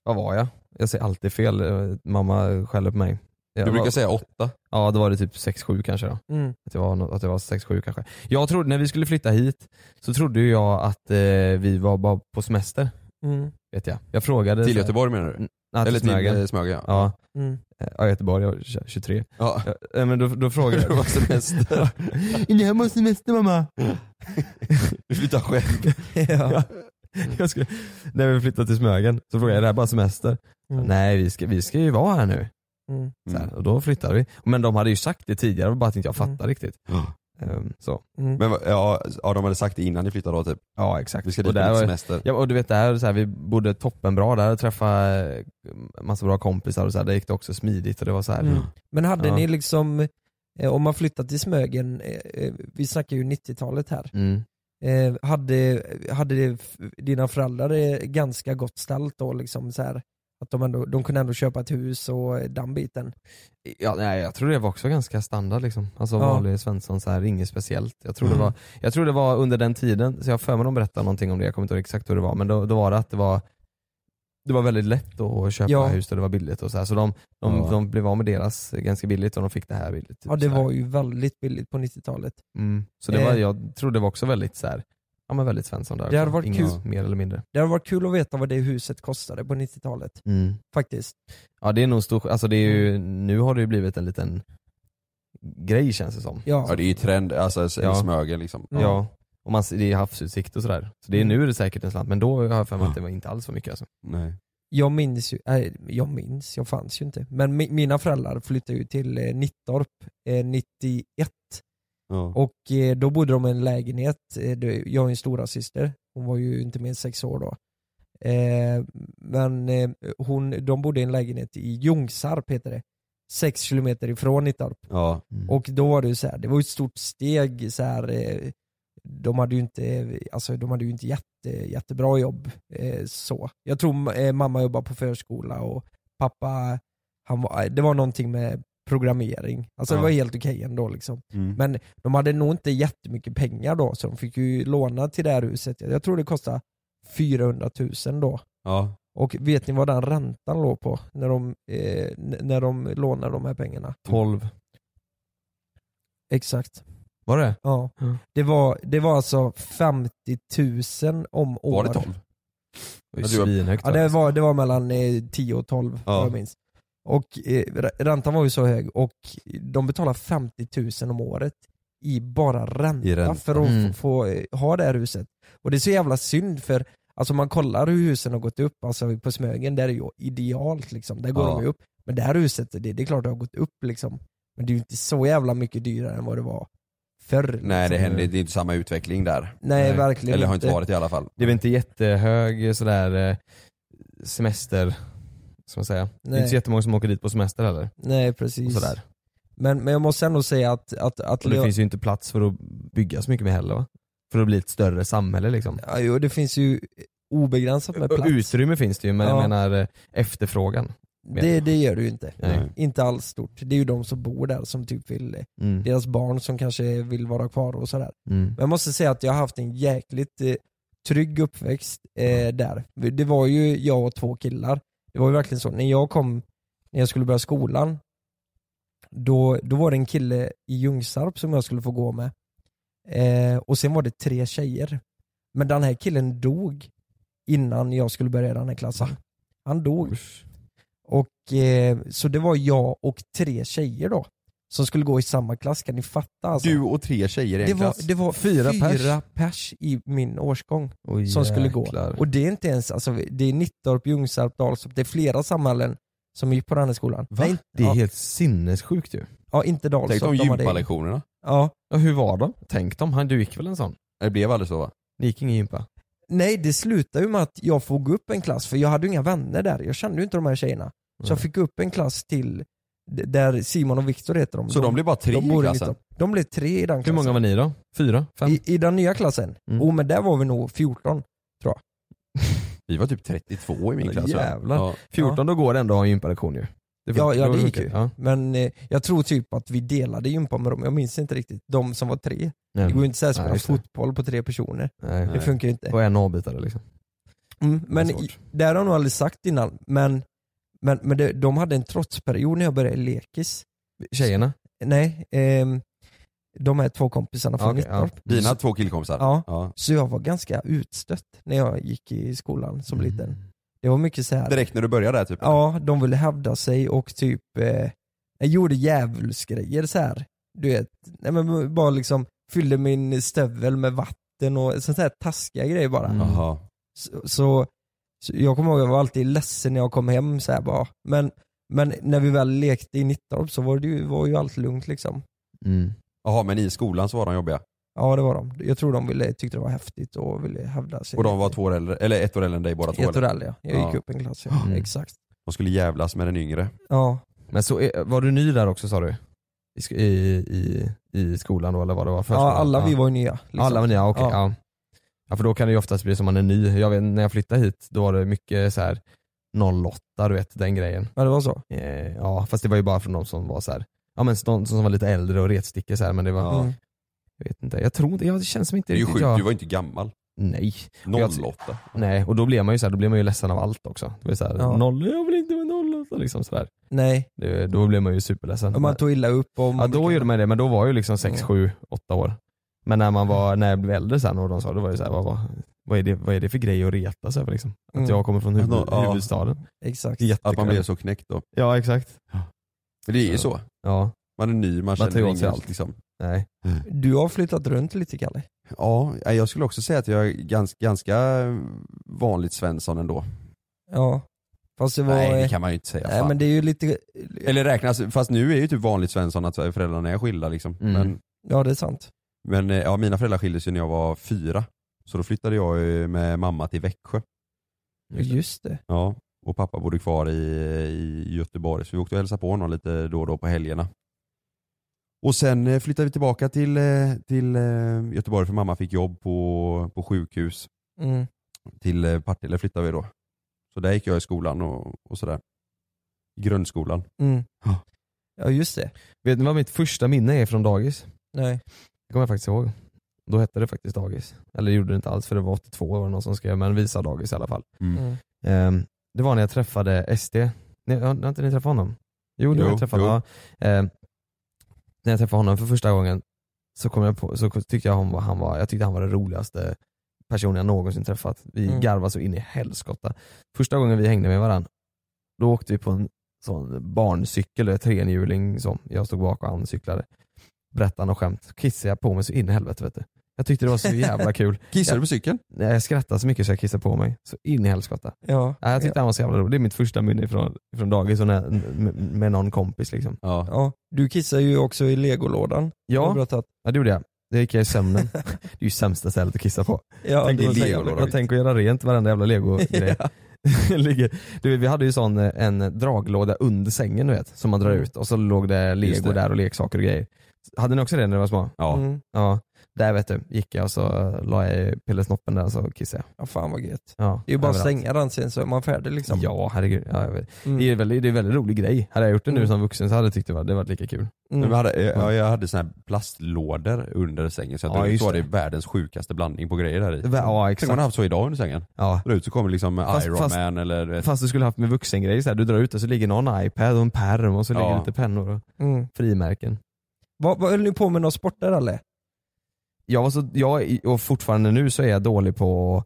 Speaker 2: Vad var jag? Jag säger alltid fel, eh, mamma skäller på mig. Jag
Speaker 1: Du brukar
Speaker 2: var,
Speaker 1: säga åtta.
Speaker 2: Ja då var det typ 6-7 kanske då.
Speaker 3: Mm.
Speaker 2: Att jag var, nå- att jag var 6-7 kanske. Jag trodde, när vi skulle flytta hit så trodde ju jag att eh, vi var bara på semester.
Speaker 3: Mm.
Speaker 2: Vet jag. Jag frågade...
Speaker 1: Till Göteborg menar du?
Speaker 2: Mm, Nej, till
Speaker 1: eller till
Speaker 2: Smögen.
Speaker 1: eh, Smögen ja.
Speaker 2: Ja,
Speaker 3: Mm.
Speaker 2: Eh, ja, Göteborg, jag var tj- 23.
Speaker 1: ja.
Speaker 2: Eh, Men då, då frågade jag...
Speaker 1: Du var på
Speaker 2: Mm.
Speaker 1: semester.
Speaker 2: Är hemma på semester mamma?
Speaker 1: Du flyttar själv.
Speaker 2: ja. Jag skulle, när vi flyttade till Smögen så frågade jag, är det här bara semester?
Speaker 3: Mm.
Speaker 2: Nej vi ska, vi ska ju vara här nu.
Speaker 3: Mm.
Speaker 2: Så här,
Speaker 1: Mm.
Speaker 2: och då flyttade vi. Men de hade ju sagt det tidigare, det var bara att inte jag fattade
Speaker 3: Mm.
Speaker 2: riktigt. Ehm, så.
Speaker 1: Men vad- ja, ja, de hade sagt det innan ni flyttade då typ.
Speaker 2: Ja exakt.
Speaker 1: Vi ska
Speaker 2: Och
Speaker 1: dit på
Speaker 2: där
Speaker 1: lite
Speaker 2: var-
Speaker 1: semester.
Speaker 2: Ja och du vet det här, så här vi bodde toppenbra där och träffade eh, massa bra kompisar och så här, det gick det också smidigt och det var så här.
Speaker 3: Mm. Men hade
Speaker 2: Ja.
Speaker 3: ni liksom, eh, om man flyttat till Smögen, eh, eh, vi snackar ju 90-talet här,
Speaker 2: Mm.
Speaker 3: eh, hade, hade f- dina föräldrar eh, ganska gott ställt då liksom så här? Att de, ändå, de kunde ändå köpa ett hus och eh, den biten?
Speaker 2: Typ Ja, nej, jag tror det var också ganska standard liksom. Alltså
Speaker 3: Ja.
Speaker 2: vanlig svensson, så här, inget speciellt. Jag tror,
Speaker 3: Mm.
Speaker 2: det var, jag tror det var under den tiden, så jag har för mig de berättade någonting om det, jag kommer inte ihåg exakt hur det var, men då, då var det att det var det var väldigt lätt att köpa
Speaker 3: Ja.
Speaker 2: hus och det var billigt och så här. så de, de,
Speaker 1: Ja.
Speaker 2: de blev av med deras eh, ganska billigt och de fick det här billigt. typ
Speaker 3: Ja det
Speaker 2: så här.
Speaker 3: var ju väldigt billigt på 90-talet.
Speaker 2: Mm. Så det var,
Speaker 3: Eh.
Speaker 2: jag tror det var också väldigt så här, ja men väldigt svensson där.
Speaker 3: Det hade varit
Speaker 2: Inget mer eller mindre.
Speaker 3: Det hade varit kul att veta vad det huset kostade på 90-talet faktiskt.
Speaker 2: Ja det är nog stor, alltså det är ju,
Speaker 3: Mm.
Speaker 2: nu har det ju blivit en liten grej känns det som.
Speaker 3: Ja,
Speaker 1: Ja det är ju trend, alltså s-
Speaker 2: Ja.
Speaker 1: Smögen liksom.
Speaker 3: Ja.
Speaker 2: Ja, och man, ser- det är havsutsikt och sådär. Så
Speaker 3: Mm.
Speaker 2: det är, nu är det säkert en slant, men då har jag för mig att det var inte alls så mycket alltså.
Speaker 1: Nej.
Speaker 3: Jag minns ju, nej jag minns, jag fanns ju inte. Men mi, mina föräldrar flyttade ju till eh, Nittorp eh, 91
Speaker 1: Ja.
Speaker 3: och eh, då bodde de i en lägenhet. Eh, det- jag har ju en stora syster. hon var ju inte mer än sex år då. Eh, men eh, hon, de bodde i en lägenhet i Ljungsarp heter det. Sex kilometer ifrån Nittorp.
Speaker 1: ja.
Speaker 3: Och då var det ju så här, det var ju ett stort steg så här, eh, de hade ju inte, alltså de hade ju inte jätte, jättebra jobb eh, så. Jag tror eh, mamma jobbade på förskola och pappa, han var, eh, det var någonting med programmering. Alltså det
Speaker 1: Ja.
Speaker 3: var helt okej ändå liksom.
Speaker 1: Mm.
Speaker 3: Men de hade nog inte jättemycket pengar då så de fick ju låna till det här huset. Jag tror det kostade 400 000 då.
Speaker 1: ja.
Speaker 3: Och vet ni vad den räntan låg på när de, eh, n- när de lånade de här pengarna?
Speaker 2: 12,
Speaker 3: Exakt.
Speaker 2: var det?
Speaker 3: Ja.
Speaker 2: Ja.
Speaker 3: Det, var, det var alltså 50 000 om året.
Speaker 1: Var det 12?
Speaker 2: Det var
Speaker 1: Ja,
Speaker 2: ju
Speaker 1: det var-
Speaker 2: svinhögt
Speaker 3: Ja, det alltså. var, det var mellan eh, 10 och 12
Speaker 1: Ja.
Speaker 3: vad jag minns. Och eh, rä- räntan var ju så hög och de betalar 50 000 om året i bara ränta,
Speaker 1: I ränta.
Speaker 3: för att
Speaker 2: Mm.
Speaker 3: få, få eh, ha det här huset. Och det är så jävla synd för alltså man kollar hur husen har gått upp, alltså på Smögen där är det ju idealt liksom, där går
Speaker 1: Ja.
Speaker 3: de ju upp. Men det här huset, det, det är klart det har gått upp liksom. Men det är ju inte så jävla mycket dyrare än vad det var förr.
Speaker 1: Nej det
Speaker 3: liksom.
Speaker 1: händer, det är inte samma utveckling där.
Speaker 3: Nej,
Speaker 2: Nej.
Speaker 3: verkligen
Speaker 1: Eller har
Speaker 3: inte.
Speaker 1: inte varit i alla fall.
Speaker 2: Det är väl inte jättehög sådär eh, semester, ska man säga. Det är
Speaker 3: Nej.
Speaker 2: inte så jättemånga som åker dit på semester heller.
Speaker 3: Nej
Speaker 2: Och
Speaker 3: precis.
Speaker 2: sådär.
Speaker 3: Men, men jag måste ändå säga att, att, att
Speaker 2: Och det
Speaker 3: Leo-
Speaker 2: finns ju inte plats för att bygga så mycket mer heller va? För att bli ett större samhälle liksom.
Speaker 3: ja, jo, det finns ju obegränsat med
Speaker 2: Och
Speaker 3: plats.
Speaker 2: Utrymme finns det ju men
Speaker 3: Ja.
Speaker 2: jag menar eh, efterfrågan.
Speaker 3: Det, det gör det ju inte.
Speaker 2: Nej.
Speaker 3: Inte alls stort. Det är ju de som bor där som typ vill,
Speaker 2: Mm.
Speaker 3: deras barn som kanske vill vara kvar och sådär.
Speaker 2: Mm.
Speaker 3: Men jag måste säga att jag har haft en jäkligt eh, trygg uppväxt eh, där. Det var ju jag och två killar. Det var ju verkligen så, när jag kom, när jag skulle börja skolan, då, då var det en kille i Ljungsarp som jag skulle få gå med. Eh, och sen var det tre tjejer. Men den här killen dog innan jag skulle börja i den här klassen. Han dog. Och, eh, så det var jag och tre tjejer då, som skulle gå i samma klass. Kan ni fatta? Alltså?
Speaker 1: Du och tre tjejer i en
Speaker 3: Det var,
Speaker 1: klass.
Speaker 3: det var fyra,
Speaker 2: Fyra pers.
Speaker 3: pers. i min årsgång
Speaker 2: Oj,
Speaker 3: som skulle
Speaker 2: jäklar.
Speaker 3: gå. Och det är inte ens, alltså, det är Nittorp, Ljungsarp, Dalstorp, det är flera samhällen som gick på den här skolan.
Speaker 2: Va?
Speaker 3: Nej,
Speaker 2: Det är
Speaker 3: ja,
Speaker 2: helt sinnessjukt ju.
Speaker 3: ja, inte Dalstorp.
Speaker 1: Tänk om liksom.
Speaker 3: de hade-
Speaker 1: gympalektionerna.
Speaker 3: Ja.
Speaker 2: Ja, hur var de? Tänk dem, han, du gick väl en sån?
Speaker 1: Det blev aldrig så va?
Speaker 2: Ni gick ingen gympa?
Speaker 3: Nej, det slutade ju med att jag får gå upp en klass, för jag hade ju inga vänner där. Jag kände ju inte de här tjejerna. Så jag
Speaker 2: Nej.
Speaker 3: fick gå upp en klass till, d- där Simon och Viktor heter de.
Speaker 1: Så de blev bara tre
Speaker 3: de
Speaker 1: i
Speaker 3: bor i
Speaker 1: klassen?
Speaker 3: Nittorp. De blev tre i den
Speaker 2: Hur
Speaker 3: klassen.
Speaker 2: många var ni då? Fyra? Fem?
Speaker 3: Alltså. I, I den nya klassen?
Speaker 2: Mm.
Speaker 3: Oh, men där var vi nog 14.
Speaker 1: Vi var typ 32 i min
Speaker 2: Ja,
Speaker 1: klass va?
Speaker 2: jävlar.
Speaker 1: Ja.
Speaker 2: 14 då går det ändå att ha en gympalektion ju. Det
Speaker 3: Ja, ja,
Speaker 2: var-
Speaker 3: det gick ju.
Speaker 2: Ja.
Speaker 3: Men eh, jag tror typ att vi delade gympa med dem, jag minns inte riktigt. De som var tre.
Speaker 2: Nej.
Speaker 3: Det går ju inte så här att spela
Speaker 2: Mm. Nej, just det.
Speaker 3: fotboll på tre personer.
Speaker 2: Nej.
Speaker 3: Det funkar ju inte.
Speaker 2: Och en avbitare liksom.
Speaker 3: Mm, men
Speaker 2: Det är svårt.
Speaker 3: i- det har jag nog aldrig sagt innan, men, men, men det, de hade en trotsperiod när jag började i lekis.
Speaker 2: Tjejerna?
Speaker 3: Nej, ehm, de här två kompisarna från
Speaker 2: Okej, ja.
Speaker 3: Nittorp.
Speaker 1: Dina två killkompisar?
Speaker 3: Ja.
Speaker 1: ja.
Speaker 3: Så jag var ganska utstött när jag gick i skolan som
Speaker 2: Mm.
Speaker 3: liten. Det var mycket så här.
Speaker 1: Direkt när du började där typ?
Speaker 3: Ja, de ville hävda sig och typ eh, jag gjorde djävulsgrejer så här. Du vet, nej men bara liksom fyllde min stövel med vatten och sånt här taskiga grejer bara.
Speaker 2: Mm.
Speaker 1: Jaha.
Speaker 3: Så, så, så jag kommer ihåg jag var alltid ledsen när jag kom hem så här bara. Men, men när vi väl lekte i Nittorp så var det ju, var ju allt lugnt liksom.
Speaker 2: Mm.
Speaker 1: Jaha, men i skolan så var de jobbiga.
Speaker 3: Ja det var de. Jag tror de ville, tyckte det var häftigt och ville hävda sig.
Speaker 1: Och de var två år äldre, eller ett år äldre än dig båda två?
Speaker 3: Ett år
Speaker 1: eller?
Speaker 3: äldre ja. Jag gick
Speaker 1: Ja.
Speaker 3: upp en klass ja.
Speaker 2: Mm.
Speaker 3: Exakt.
Speaker 1: De skulle jävlas med den yngre.
Speaker 3: Ja.
Speaker 2: Men så, är- var du ny där också sa du? I, sk- i, i, i skolan då eller vad det var?
Speaker 3: ja, alla vi var ju nya. liksom.
Speaker 2: Alla var nya, okej.
Speaker 3: Ja.
Speaker 2: ja. Ja. för då kan det ju oftast bli som man är ny. Jag vet, när jag flyttade hit då var det mycket så här 08, du vet den grejen.
Speaker 3: Ja det var så.
Speaker 2: Eh, ja, fast det var ju bara från de som var så här, ja men de som var lite äldre och retstickor så här, men det var,
Speaker 3: Mm.
Speaker 2: jag vet inte, jag tror inte, jag det känns som inte
Speaker 1: Det är ju
Speaker 2: riktigt
Speaker 1: sjukt,
Speaker 2: jag,
Speaker 1: du var ju inte gammal.
Speaker 2: Nej,
Speaker 1: 08.
Speaker 2: nej, och då blir man ju så här, då blir man ju ledsen av allt också. Det var ju så här,
Speaker 3: Ja.
Speaker 2: noll, jag vill inte vara 08 liksom sådär.
Speaker 3: Nej,
Speaker 2: Det- Då blir man ju superledsen.
Speaker 3: om man tog illa upp och
Speaker 2: Ja
Speaker 3: man
Speaker 2: då gjorde man det, men då var jag ju liksom 6,
Speaker 3: Mm.
Speaker 2: 7, 8 år. Men när man var, när jag blev äldre sen och de sa, då var det så här, vad, vad, vad, är det, vad är det för grej att reta sig över liksom? Att
Speaker 3: Mm.
Speaker 2: jag kommer från huvud,
Speaker 1: Ja, ja.
Speaker 2: huvudstaden.
Speaker 3: Exakt.
Speaker 1: Att man
Speaker 2: Jättekul.
Speaker 1: blev så knäckt då.
Speaker 2: Ja exakt.
Speaker 1: Men det är ju så.
Speaker 2: Ja,
Speaker 1: Man är ny, man
Speaker 2: tar åt
Speaker 1: känner
Speaker 2: sig
Speaker 1: ingen
Speaker 2: allt.
Speaker 1: liksom.
Speaker 2: nej.
Speaker 3: Du har flyttat runt lite Kalle.
Speaker 1: Ja, nej, jag skulle också säga att jag är ganska, ganska vanligt Svensson ändå.
Speaker 3: Ja. Fast det var...
Speaker 1: Nej det kan man ju inte säga.
Speaker 3: Nej
Speaker 1: fan.
Speaker 3: men det är ju lite,
Speaker 1: Eller räknas, fast nu är ju typ vanligt Svensson att föräldrarna är skilda liksom.
Speaker 2: Mm.
Speaker 1: Men,
Speaker 3: ja det är sant.
Speaker 1: men eh, ja, mina föräldrar skildes ju när jag var fyra. Så då flyttade jag ju med mamma till Växjö.
Speaker 3: Just, det.
Speaker 1: Ja, och pappa bodde kvar i, i Göteborg så vi åkte och hälsade på honom lite då och då på helgerna. Och sen eh, flyttade vi tillbaka till, eh, till eh, Göteborg för mamma fick jobb på, på sjukhus.
Speaker 3: Mm.
Speaker 1: Till eh, Partille flyttade vi då. Så där gick jag i skolan och, och sådär. I Grundskolan.
Speaker 3: Mm.
Speaker 1: Ja.
Speaker 3: Ja just det.
Speaker 2: Vet ni vad mitt första minne är från dagis?
Speaker 3: Nej.
Speaker 2: Det kommer jag faktiskt ihåg. Då hette det faktiskt dagis. Eller det gjorde det inte alls för det var 82 var det någon som skrev, men visa dagis i alla fall.
Speaker 3: Mm.
Speaker 2: Ehm, det var när jag träffade SD. Nej, har har inte ni träffat honom? Jo, det har
Speaker 1: Jo,
Speaker 2: jag träffat.
Speaker 1: jo.
Speaker 2: Ja. Ehm, när jag träffade honom för första gången så, kom jag på, så tyckte jag, hon var, han var, jag tyckte han var den roligaste personen jag någonsin träffat. Vi
Speaker 3: Mm.
Speaker 2: garvade så in i helskotta. Första gången vi hängde med varandra, då åkte vi på en sån barncykel, en trehjuling som jag stod bak och han cyklade. Berättade något skämt, kissade jag på mig så in i helvete vet du. Jag tyckte det var så jävla kul.
Speaker 1: Kissade du på cykeln?
Speaker 2: Nej, Jag skrattade så mycket så jag kissade på mig, så in i helskotta.
Speaker 3: Ja.
Speaker 2: Ja, jag tyckte han var så jävla rolig. Det är mitt första minne från, från dagis och när, med, med någon kompis liksom.
Speaker 1: Ja.
Speaker 3: ja. Du kissar ju också i legolådan. Har du
Speaker 2: Ja,
Speaker 3: berättat.
Speaker 2: ja det gjorde jag. Det gick jag i sömnen. Det är ju sämsta stället att kissa på.
Speaker 3: Ja,
Speaker 2: Tänk
Speaker 3: det var
Speaker 2: att
Speaker 3: så
Speaker 2: lägga-
Speaker 3: jävla-
Speaker 2: Jag tänker göra rent varenda jävla legogrej. Ligger- du vet, vi hade ju sån, eh, en draglåda under sängen du vet, som man drar
Speaker 3: Mm.
Speaker 2: ut och så låg det
Speaker 1: Just
Speaker 2: lego
Speaker 1: det.
Speaker 2: där och leksaker och grejer. Hade ni också det när ni var små?
Speaker 1: Ja.
Speaker 3: Mm.
Speaker 2: Ja. Där vet du, gick jag och så eh, la jag pillesnoppen där och så kissade jag.
Speaker 3: ja fan vad gött.
Speaker 2: Ja,
Speaker 3: Det är ju bara att
Speaker 2: överallt.
Speaker 3: stänga den sen så är man färdig liksom.
Speaker 2: Ja herregud. Ja, jag vet.
Speaker 3: Mm.
Speaker 2: Det är en väldigt, det är en väldigt rolig grej. Hade jag gjort det nu
Speaker 3: Mm.
Speaker 2: som vuxen så hade jag tyckt det var, det var lika kul.
Speaker 1: Men
Speaker 3: Mm.
Speaker 1: Jag hade, eh, jag, jag hade såna här plastlådor under sängen så jag
Speaker 2: Ja,
Speaker 1: drog ut
Speaker 2: just
Speaker 1: så var det
Speaker 2: det.
Speaker 1: världens sjukaste blandning på grejer där i.
Speaker 2: Va- Ja
Speaker 1: Tänk om man
Speaker 2: exakt.
Speaker 1: hade haft så idag under sängen.
Speaker 2: Ja.
Speaker 1: Drar ut så kommer liksom
Speaker 2: Fast-
Speaker 1: Iron
Speaker 2: fast-
Speaker 1: Man eller du vet,
Speaker 2: Fast du skulle haft med vuxengrejer så här, du drar ut och så ligger någon iPad och en pärm och så
Speaker 1: Ja.
Speaker 2: ligger lite pennor och
Speaker 3: Mm.
Speaker 2: frimärken.
Speaker 3: Vad, vad höll ni på med några sporter eller?
Speaker 2: Jag var så, jag, och fortfarande nu så är jag dålig på att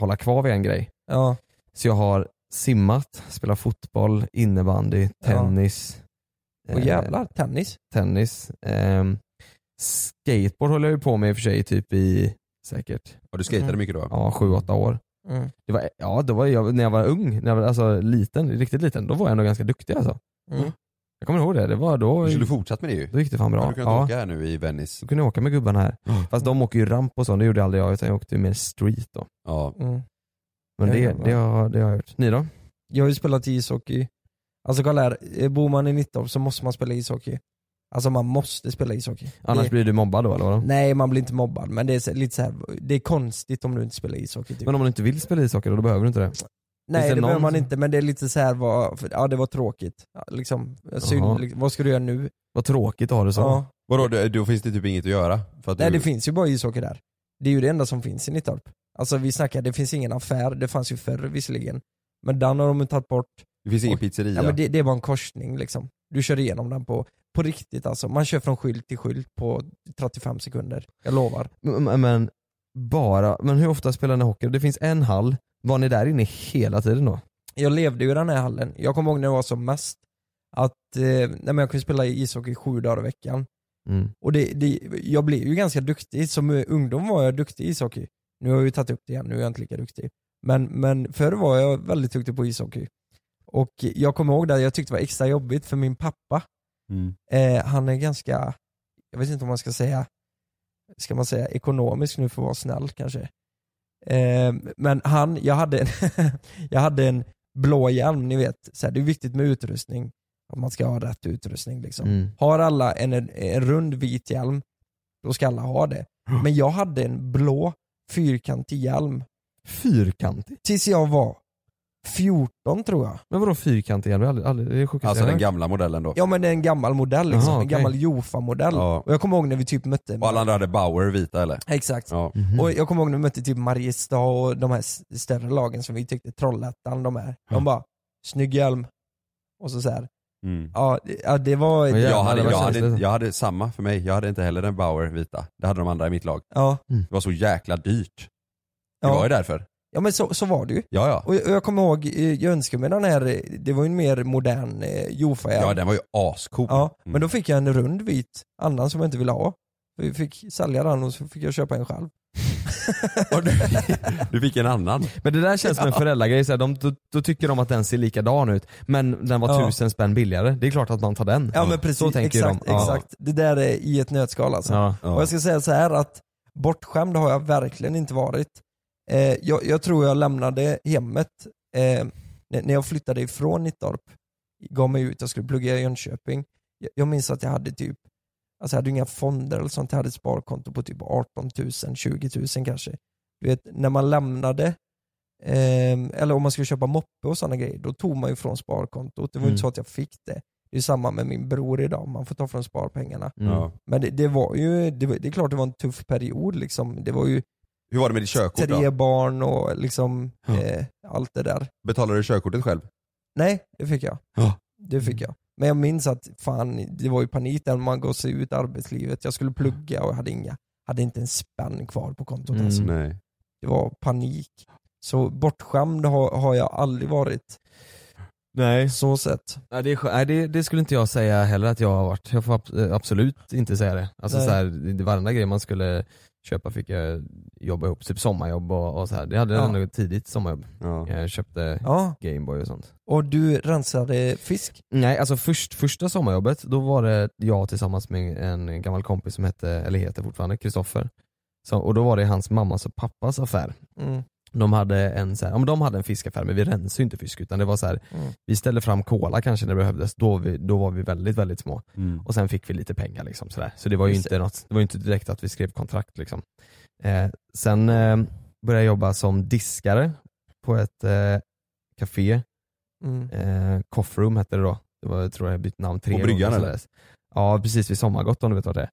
Speaker 2: hålla kvar vid en grej.
Speaker 3: Ja.
Speaker 2: Så jag har simmat, spelat fotboll, innebandy, tennis.
Speaker 3: Och
Speaker 2: Eh.
Speaker 3: jävlar, tennis.
Speaker 2: tennis. ehm, skateboard håller jag ju på med i och för sig typ i säkert
Speaker 1: ja, du skejtade
Speaker 3: Mm.
Speaker 1: mycket då?
Speaker 2: ja, 7-8 år.
Speaker 3: Mm.
Speaker 2: Det var, ja, då var jag, när jag var ung, när jag var, alltså liten, riktigt liten, då var jag nog ganska duktig alltså.
Speaker 3: Mm.
Speaker 2: Jag kommer ihåg det, det var då,
Speaker 1: Du skulle fortsatt med det ju.
Speaker 2: då gick det fan
Speaker 1: Ja,
Speaker 2: bra.
Speaker 1: du kunde
Speaker 2: Ja,
Speaker 1: åka här nu i Venice.
Speaker 2: så kunde jag åka med gubbarna här. Fast de åker ju ramp och sånt, det gjorde aldrig jag utan jag åkte ju mer street då.
Speaker 1: Ja.
Speaker 3: Mm.
Speaker 2: Men det,
Speaker 3: Jävlar.
Speaker 2: det, har, det har jag gjort. Ni då?
Speaker 3: Jag har ju spelat ishockey. Alltså kolla här, eh, bor man i Nittorp så måste man spela ishockey. Alltså man måste spela ishockey.
Speaker 2: Annars
Speaker 3: det,
Speaker 2: blir du mobbad då eller vadå?
Speaker 3: Nej man blir inte mobbad men det är så- lite så här, det är konstigt om du inte spelar ishockey typ.
Speaker 2: Men om man inte vill spela ishockey då, då behöver du inte det.
Speaker 3: nej
Speaker 2: finns
Speaker 3: det
Speaker 2: det någon
Speaker 3: behöver man
Speaker 2: som-
Speaker 3: inte men det är lite så här vad, för, ja det var tråkigt. Ja, Liksom, synd,
Speaker 2: Jaha.
Speaker 3: liksom, vad ska du göra nu?
Speaker 2: Vad tråkigt att ha det så.
Speaker 3: Ja.
Speaker 1: Vadå, då, då finns det typ inget att göra? För att
Speaker 3: Nej
Speaker 1: du,
Speaker 3: det finns ju bara ishockey där. Det är ju det enda som finns i Nittorp. Alltså vi snackar, det finns ingen affär, det fanns ju förr visserligen. Men den har de tagit bort.
Speaker 1: det finns ingen pizzeria?
Speaker 3: Ja, men det, det är bara en korsning liksom. Du kör igenom den på, på riktigt alltså. Man kör från skylt till skylt på 35 sekunder. Jag lovar.
Speaker 2: M- m- Men bara, men hur ofta spelar ni hockey? Det finns en hall, var ni där inne hela tiden då?
Speaker 3: Jag levde ju i den här hallen. Jag kommer ihåg när det var som mest att eh, nej, men jag kunde spela ishockey sju dagar i veckan.
Speaker 2: Mm.
Speaker 3: Och det, det, jag blev ju ganska duktig. Som eh, ungdom var jag duktig i ishockey. Nu har jag ju tagit upp det igen, nu är jag inte lika duktig. Men, men förr var jag väldigt duktig på ishockey. Och jag kommer ihåg det, jag tyckte det var extra jobbigt för min pappa
Speaker 1: Mm.
Speaker 3: Eh, han är ganska jag vet inte om man ska säga, ska man säga ekonomisk nu för att vara snäll kanske? Eh, men han, jag hade en, jag hade en blå hjälm, ni vet, så här, det är viktigt med utrustning, att man ska ha rätt utrustning liksom.
Speaker 2: Mm.
Speaker 3: Har alla en, en rund vit hjälm, då ska alla ha det.
Speaker 1: Mm.
Speaker 3: Men jag hade en blå fyrkantig hjälm
Speaker 2: Fyrkantig?
Speaker 3: tills jag var 14 tror jag.
Speaker 2: Men vadå fyrkantig? Jag har aldrig, aldrig, det är sjukaste
Speaker 1: Alltså
Speaker 2: jag
Speaker 1: den
Speaker 2: hört.
Speaker 1: gamla modellen då.
Speaker 3: Ja men det är en gammal modell liksom,
Speaker 2: Jaha,
Speaker 3: en
Speaker 2: okej.
Speaker 3: gammal Jofa-modell.
Speaker 1: Ja.
Speaker 3: Och jag kommer ihåg när vi typ mötte
Speaker 1: Och alla andra hade Bauer vita eller?
Speaker 3: Exakt.
Speaker 1: Ja. Mm.
Speaker 2: Mhm.
Speaker 3: Och jag kommer ihåg när vi mötte typ Mariestad och de här s- större lagen som vi tyckte, Trollhättan, de här.
Speaker 2: Ja.
Speaker 3: De bara, snygg hjälm. Och så, så här.
Speaker 1: Mm.
Speaker 3: Ja, det- ja, det var...
Speaker 2: Men
Speaker 1: Jag,
Speaker 2: jävlar,
Speaker 1: hade,
Speaker 2: det var
Speaker 1: jag,
Speaker 2: känsligt.
Speaker 1: hade, jag hade samma för mig, jag hade inte heller den Bauer vita. Det hade de andra i mitt lag.
Speaker 3: Ja,
Speaker 1: Det var så jäkla dyrt. Det var ju
Speaker 3: ja.
Speaker 1: därför.
Speaker 3: ja men så, så var det ju.
Speaker 1: Ja ja.
Speaker 3: Och jag, och jag kommer ihåg, eh, jag önskade mig den här, eh, det var ju en mer modern eh, Jofa-hjälm.
Speaker 1: Ja den var ju ascool.
Speaker 3: Ja,
Speaker 1: Mm.
Speaker 3: men då fick jag en rund vit annan som jag inte ville ha. Vi fick sälja den och så fick jag köpa en själv.
Speaker 1: Och du, du fick en annan.
Speaker 2: Men det där känns som en föräldragrej, så här, de, då, då tycker de att den ser likadan ut men den var
Speaker 3: Ja.
Speaker 2: tusen spänn billigare. Det är klart att man tar den.
Speaker 3: Ja men precis,
Speaker 2: Så tänker ju
Speaker 3: exakt,
Speaker 2: de. Ja.
Speaker 3: exakt. Det där är i ett nötskal alltså.
Speaker 2: Ja.
Speaker 1: Ja.
Speaker 3: Och jag ska säga så här att bortskämd har jag verkligen inte varit. Eh, jag, jag tror jag lämnade hemmet eh, när när jag flyttade ifrån Nittorp. Gav mig ut, jag skulle plugga i Jönköping. Jag, jag minns att jag hade typ, alltså jag hade inga fonder eller sånt, jag hade ett sparkonto på typ 18 000, 20 000 kanske. Du vet, när man lämnade, eh, eller om man skulle köpa moppe och sådana grejer, då tog man ju från sparkontot. Det var ju
Speaker 2: Mm.
Speaker 3: inte så att jag fick det. Det är ju samma med min bror idag, man får ta från sparpengarna.
Speaker 2: Mm.
Speaker 1: Ja.
Speaker 3: Men det, det var ju, det, var, det är klart det var en tuff period liksom. Det var ju
Speaker 1: Hur var det med ditt körkort
Speaker 3: tre
Speaker 1: då?
Speaker 3: barn och liksom
Speaker 2: Ja.
Speaker 3: eh, allt det där.
Speaker 1: Betalade du körkortet själv?
Speaker 3: Nej, det fick jag.
Speaker 1: Ja.
Speaker 3: Det fick jag. Men jag minns att fan, det var ju panik där man gav sig ut i arbetslivet. Jag skulle plugga och jag hade inga, hade inte en spänn kvar på kontot
Speaker 2: Mm.
Speaker 3: alltså.
Speaker 1: Nej.
Speaker 3: Det var panik. Så bortskämd har, har jag aldrig varit.
Speaker 2: Nej.
Speaker 3: Så sett.
Speaker 2: Ja, det, är, skö- nej det, det skulle inte jag säga heller att jag har varit. Jag får ab- eh, absolut inte säga det. Alltså
Speaker 3: Nej.
Speaker 2: så här, det, det- varenda grej man skulle köpa fick jag jobba ihop. Typ sommarjobb och, och så här. Det hade jag
Speaker 3: Ja.
Speaker 2: ändå tidigt sommarjobb.
Speaker 1: Ja.
Speaker 2: Jag köpte
Speaker 3: Ja,
Speaker 2: Gameboy och sånt.
Speaker 3: och du rensade fisk?
Speaker 2: Nej, alltså först, första sommarjobbet, då var det jag tillsammans med en gammal kompis som hette, eller heter fortfarande, Kristoffer. Så- Och då var det hans mammas och pappas affär.
Speaker 3: Mm.
Speaker 2: De hade en, så här, ja, men de hade en fiskaffär men vi rensade ju inte fisk utan det var så här,
Speaker 3: Mm.
Speaker 2: vi ställde fram cola kanske när det behövdes, då, vi, då var vi väldigt väldigt små.
Speaker 1: Mm.
Speaker 2: Och sen fick vi lite pengar liksom sådär. Så det var ju
Speaker 3: Just
Speaker 2: inte, något, det var ju inte direkt att vi skrev kontrakt liksom. Eh, sen eh, började jag jobba som diskare på ett eh, café
Speaker 3: Mm.
Speaker 2: Eh, Coffroom hette det då. Det var, jag tror jag bytt namn tre
Speaker 1: På bryggan,
Speaker 2: gånger,
Speaker 1: eller?
Speaker 2: sådär. Ja precis, vid Sommargott om du vet vad det är.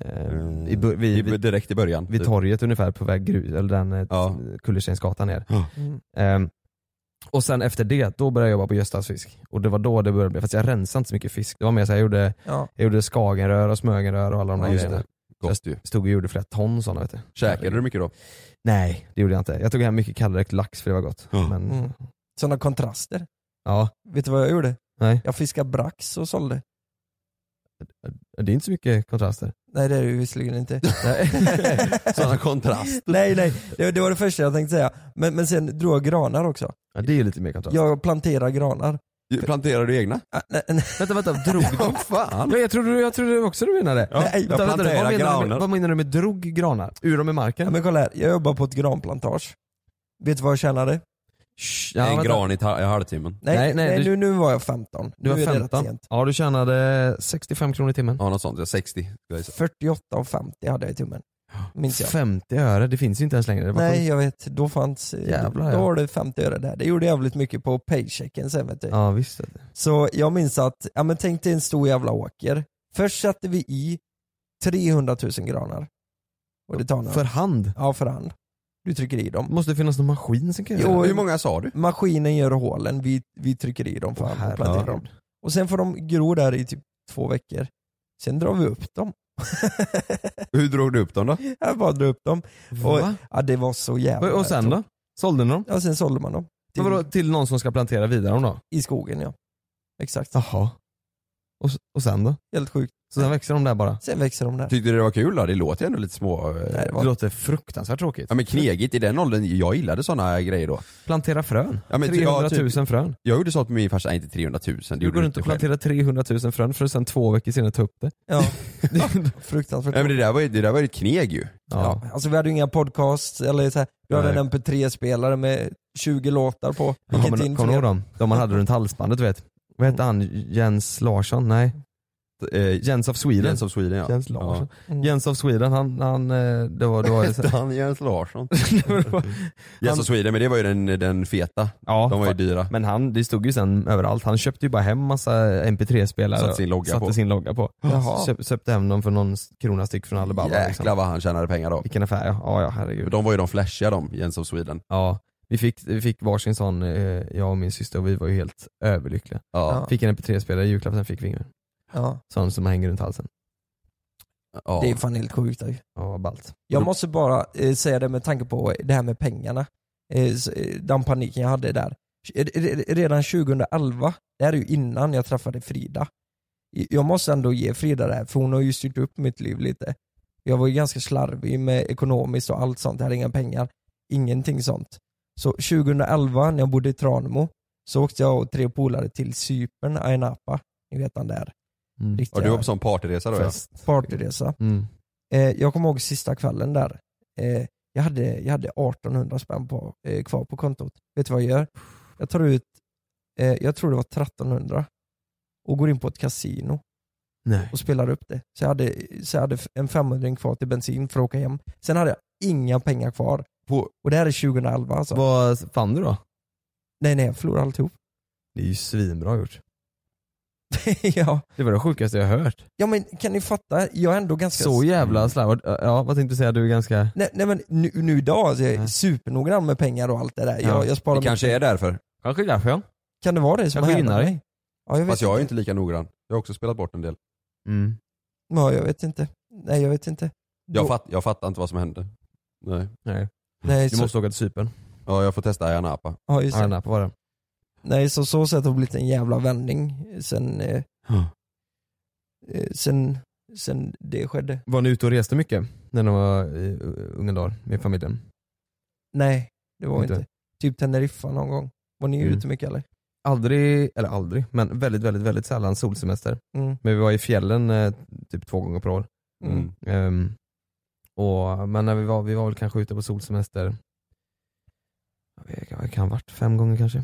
Speaker 2: Eh, i, bu-
Speaker 1: Mm. I
Speaker 2: vid,
Speaker 1: bu-
Speaker 2: vid,
Speaker 1: direkt i början.
Speaker 2: vid
Speaker 1: typ.
Speaker 2: torget ungefär på väg grus, eller den eh,
Speaker 1: Ja.
Speaker 2: Kullerstensgatan ner.
Speaker 3: Mm.
Speaker 2: Eh, och sen efter det, då började jag jobba på Göstas fisk. Och det var då det började bli, fast jag rensade inte så mycket fisk. Det var mer såhär, jag gjorde,
Speaker 3: Ja.
Speaker 2: jag gjorde skagenrör och smögenrör och alla de där
Speaker 1: Ja, just
Speaker 2: grejerna.
Speaker 1: det. Gott ju.
Speaker 2: Stod och gjorde flera ton sådana vet du.
Speaker 1: Käkade du mycket då?
Speaker 2: Nej, det gjorde jag inte. Jag tog hem mycket kallräkt lax för det var gott.
Speaker 1: Ja.
Speaker 2: Men,
Speaker 3: Mm. Sådana kontraster.
Speaker 2: ja,
Speaker 3: Vet du vad jag gjorde?
Speaker 2: nej.
Speaker 3: Jag fiskade brax och sålde.
Speaker 2: Det är inte så mycket kontraster.
Speaker 3: Nej det är det ju visserligen inte.
Speaker 1: Sådana kontrast.
Speaker 3: nej nej, det, det var det första jag tänkte säga. Men, men sen drog jag granar också.
Speaker 2: Ja, det är ju lite mer kontrast.
Speaker 3: Jag planterar granar.
Speaker 1: Du- Planterade du egna?
Speaker 3: Ah, nej, nej,
Speaker 2: Vänta, vänta, drog de?
Speaker 1: fan.
Speaker 2: Men jag trodde, jag trodde också du menade det.
Speaker 1: Ja,
Speaker 3: Nej,
Speaker 2: vänta,
Speaker 1: jag
Speaker 2: vänta, vad,
Speaker 1: planterar
Speaker 2: menar du med,
Speaker 1: granar.
Speaker 2: vad menar du med drog granar? Ur dem i marken?
Speaker 3: men kolla här, jag jobbar på ett granplantage. Vet du vad jag tjänade?
Speaker 2: Shh, ja,
Speaker 1: En
Speaker 2: vänta.
Speaker 1: gran i, ta- i halvtimmen.
Speaker 3: Nej,
Speaker 2: Nej,
Speaker 3: nej,
Speaker 2: nej, du-
Speaker 3: nu, nu var jag 15.
Speaker 2: Du var
Speaker 3: nu är det rätt
Speaker 2: 15.
Speaker 3: sent.
Speaker 2: Ja, du tjänade 65 kronor i timmen.
Speaker 1: Ja något sånt, ja, 60 skulle jag gissa.
Speaker 3: 48 och 50 hade jag i tummen. Minns jag.
Speaker 2: 50 öre, det finns ju inte ens längre. Det var
Speaker 3: Nej
Speaker 2: sjukt.
Speaker 3: jag vet, då fanns, eh,
Speaker 2: Jävlar,
Speaker 3: då
Speaker 2: ja.
Speaker 3: var det 50 öre där. Det gjorde jävligt mycket på paychecken sen vet du.
Speaker 2: Ja, visst.
Speaker 3: Så jag minns att, ja men tänk dig en stor jävla åker. Först satte vi i 300 000 granar. Och det tar några.
Speaker 2: För hand.
Speaker 3: Ja, för hand. Du trycker i
Speaker 2: Det
Speaker 3: dem.
Speaker 2: måste finnas någon maskin som kan göra
Speaker 3: Jo,
Speaker 2: det.
Speaker 1: Hur många sa du?
Speaker 3: Maskinen gör hålen, vi, vi trycker i dem för
Speaker 2: Åh,
Speaker 3: hand och planterar
Speaker 2: herregud.
Speaker 3: dem. Och sen får de gro där i typ två veckor. Sen drar vi upp dem.
Speaker 1: Hur drog du upp dem då?
Speaker 3: jag bara drar upp dem. Och,
Speaker 2: Va?
Speaker 3: ja, det var så jävla...
Speaker 2: Och, och sen då? Sålde ni dem?
Speaker 3: Ja, sen sålde man dem.
Speaker 2: Till... Vadå,
Speaker 3: Till,
Speaker 2: till någon som ska plantera vidare dem då?
Speaker 3: I skogen ja. Exakt.
Speaker 2: Jaha. Och, och sen då?
Speaker 3: Helt sjukt.
Speaker 2: Så sen växer de där bara.
Speaker 3: Sen växer de där.
Speaker 1: Tyckte du det var kul då? Det låter ju ändå lite små... eh,
Speaker 3: Nej, det
Speaker 2: Det
Speaker 3: var...
Speaker 2: låter fruktansvärt tråkigt.
Speaker 1: Ja men knegigt i den åldern, jag gillade sådana grejer då.
Speaker 2: Plantera frön.
Speaker 1: Ja, men ty-
Speaker 2: 300
Speaker 1: ja,
Speaker 2: 000
Speaker 1: typ.
Speaker 2: frön.
Speaker 1: Jag gjorde sånt med min farsa, nej inte 300 000, det
Speaker 2: Du
Speaker 1: gjorde
Speaker 2: går
Speaker 1: du
Speaker 2: runt
Speaker 1: inte
Speaker 2: och
Speaker 1: själv.
Speaker 2: planterar 300 000 frön för att sen två veckor senare ta upp det.
Speaker 3: Ja,
Speaker 1: Nej
Speaker 3: fruktansvärt.
Speaker 1: men det där var ju, det där var ju ett kneg ju.
Speaker 2: Ja.
Speaker 3: Alltså vi hade ju inga podcasts, eller så här, du hade
Speaker 1: Nej.
Speaker 3: en mp3-spelare med 20 låtar på.
Speaker 2: Ja,
Speaker 3: Vilket
Speaker 2: men,
Speaker 3: in
Speaker 2: kommer du
Speaker 3: fler.
Speaker 2: ihåg dem? De man hade runt halsbandet du vet. Vad hette han? Jens Larsson? Nej.
Speaker 1: Eh,
Speaker 2: Jens of Sweden.
Speaker 1: Jens of Sweden ja.
Speaker 2: Jens Larsson.
Speaker 3: Mm.
Speaker 2: Jens of Sweden, han, han eh, det var, det var
Speaker 1: Hette han Jens Larsson? Jens
Speaker 2: Han-
Speaker 1: of Sweden, men det var ju den, den feta.
Speaker 2: ja,
Speaker 1: De var ju dyra.
Speaker 2: Men han, det stod ju sen överallt. Han köpte ju bara hem massa mp3-spelare
Speaker 1: Satte sin
Speaker 2: och
Speaker 1: logga
Speaker 2: satte
Speaker 1: på.
Speaker 2: sin logga på.
Speaker 1: Jaha.
Speaker 2: Köp, köpte hem dem för någon krona styck från Alibaba. liksom.
Speaker 1: Jäklar vad han tjänade pengar då.
Speaker 2: Vilken affär ja. Ja, ja herregud.
Speaker 1: De var ju de flashiga de, Jens of Sweden.
Speaker 2: Ja, vi fick, vi fick varsin sån, eh, jag och min syster, och vi var ju helt överlyckliga.
Speaker 1: Ja.
Speaker 2: Fick en mp3-spelare i julklapp, sen fick vi ingen.
Speaker 3: Ja,
Speaker 2: Sån som hänger runt halsen.
Speaker 1: ja.
Speaker 3: det är fan helt sjukt. ju.
Speaker 2: Ja, vad ballt.
Speaker 1: Mm.
Speaker 2: Mm.
Speaker 3: Jag måste bara eh, säga det med tanke på det här med pengarna. Eh, så, eh, den paniken jag hade där. Eh, re- Redan 2011, det här är ju innan jag träffade Frida. I- Jag måste ändå ge Frida det här, för hon har ju styrt upp mitt liv lite. Jag var ju ganska slarvig med ekonomiskt och allt sånt, jag hade inga pengar. Ingenting sånt. Så 2011 när jag bodde i Tranemo så åkte jag och tre polare till Cypern, Ayia Napa. Ni vet den där
Speaker 2: Mm.
Speaker 1: Ja,
Speaker 3: riktiga
Speaker 1: du var på sån partyresa då ja.
Speaker 2: Fest.
Speaker 3: partyresa.
Speaker 2: Mm.
Speaker 3: Eh, jag kommer ihåg sista kvällen där. Eh, jag, hade, jag hade 1800 spänn på, eh, kvar på kontot. Vet du vad jag gör? Jag tar ut, eh, jag tror det var 1300 och går in på ett kasino
Speaker 2: Nej.
Speaker 3: och spelar upp det. Så jag hade, så jag hade f- en 500 kvar till bensin för att åka hem. Sen hade jag inga pengar kvar.
Speaker 1: På-
Speaker 3: Och det här är 2011 alltså.
Speaker 2: Vad fann du då?
Speaker 3: Nej nej, jag förlorade alltihop.
Speaker 2: Det är ju svinbra gjort.
Speaker 3: ja.
Speaker 2: Det var det sjukaste jag hört.
Speaker 3: ja men kan ni fatta? Jag är ändå ganska...
Speaker 2: Så jävla slarvigt. Ja, vad tänkte du säga? Du är ganska...
Speaker 3: Nej, nej men nu, nu idag, alltså, jag är
Speaker 2: Nej.
Speaker 3: supernoggrann med pengar och allt det där.
Speaker 2: Ja,
Speaker 3: Jag, jag sparar
Speaker 1: Det kanske är därför.
Speaker 2: Kanske därför ja.
Speaker 3: Kan det vara det som
Speaker 2: Kanske
Speaker 3: händer
Speaker 2: gynnare.
Speaker 3: mig? Ja, jag vet
Speaker 1: Fast jag är ju inte lika noggrann. Jag har också spelat bort en del.
Speaker 2: Mm.
Speaker 3: Ja, jag vet inte. Nej, jag vet inte.
Speaker 1: Jag,
Speaker 3: Då-
Speaker 1: fatt, jag fattar inte vad som hände. Nej.
Speaker 2: Nej.
Speaker 3: Nej,
Speaker 2: Du
Speaker 3: så,
Speaker 2: måste åka till Cypern.
Speaker 1: Ja, jag får testa Ayia Napa.
Speaker 3: ja, just
Speaker 2: Ja,
Speaker 3: det.
Speaker 2: den här på var det.
Speaker 3: Nej, så så sätt har det blivit en jävla vändning sen, eh, eh, sen, sen det skedde.
Speaker 2: Var ni ute och reste mycket? När ni var i eh, unga dagar med familjen?
Speaker 3: Nej, det var
Speaker 2: Inte.
Speaker 3: inte. Typ Teneriffa någon gång. Var ni
Speaker 2: Mm.
Speaker 3: ute mycket eller?
Speaker 2: Aldrig, eller aldrig, men väldigt, väldigt, väldigt sällan solsemester.
Speaker 3: Mm.
Speaker 2: Men vi var i fjällen eh, typ två gånger per år.
Speaker 3: Mm.
Speaker 2: Ehm, och, men när vi var, vi var väl kanske ute på solsemester, jag vet, jag kan ha varit fem gånger kanske.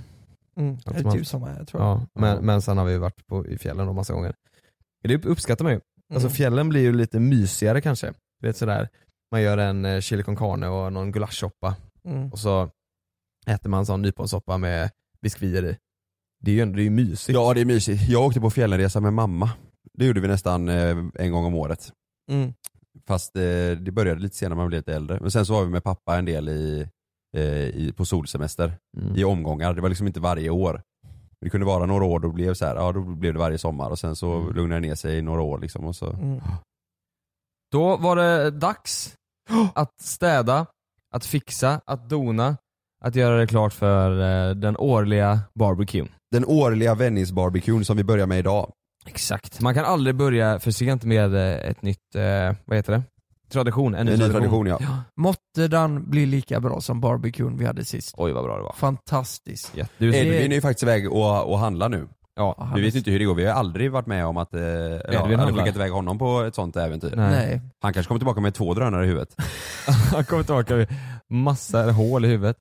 Speaker 3: Mm.
Speaker 2: Allt
Speaker 3: Det är
Speaker 2: som
Speaker 3: typ
Speaker 2: allt.
Speaker 3: samma här tror jag.
Speaker 2: Ja, men, men sen har vi varit på, i fjällen då massa gånger. Men Det upp- uppskattar man ju. Alltså
Speaker 3: Mm.
Speaker 2: fjällen blir ju lite mysigare kanske. Du vet sådär, man gör en eh, chili con carne och någon gulaschsoppa
Speaker 3: Mm.
Speaker 2: och så äter man en sån nyponsoppa med biskvier i. Det är ju ändå det är ju mysigt.
Speaker 1: Ja, det är mysigt. Jag åkte på fjällresa med mamma. Det gjorde vi nästan eh, en gång om året.
Speaker 3: Mm.
Speaker 1: Fast eh, det började lite senare, man blev lite äldre. Men sen så var vi med pappa en del i, eh, i, på solsemester
Speaker 2: Mm.
Speaker 1: i omgångar. Det var liksom inte varje år. Det kunde vara några år då blev så här, ja, då blev det varje sommar och sen så
Speaker 2: Mm.
Speaker 1: lugnade det ner sig i några år liksom. Och så.
Speaker 3: Mm.
Speaker 2: Då var det dags att städa, att fixa, att dona, att göra det klart för eh, den årliga barbecuen.
Speaker 1: Den årliga vändningsbarbecuen som vi börjar med idag.
Speaker 2: Exakt. Man kan aldrig börja för sent med eh, ett nytt, eh, vad heter det? Tradition. En ny,
Speaker 1: En ny
Speaker 2: tradition.
Speaker 1: tradition ja.
Speaker 3: Måtte den bli lika bra som barbecuen vi hade sist.
Speaker 2: Oj vad bra det var.
Speaker 3: Fantastiskt.
Speaker 2: Ja, du,
Speaker 1: Edvin är ju faktiskt iväg och, och handlar nu.
Speaker 2: ja.
Speaker 1: Vi vet inte hur det går, vi har aldrig varit med om att eh, eller ja,
Speaker 2: handlar.
Speaker 1: hade skickat iväg honom på ett sånt äventyr.
Speaker 2: Nej.
Speaker 1: Han kanske kommer tillbaka med två drönare i huvudet.
Speaker 2: Han kommer tillbaka med massa hål i huvudet.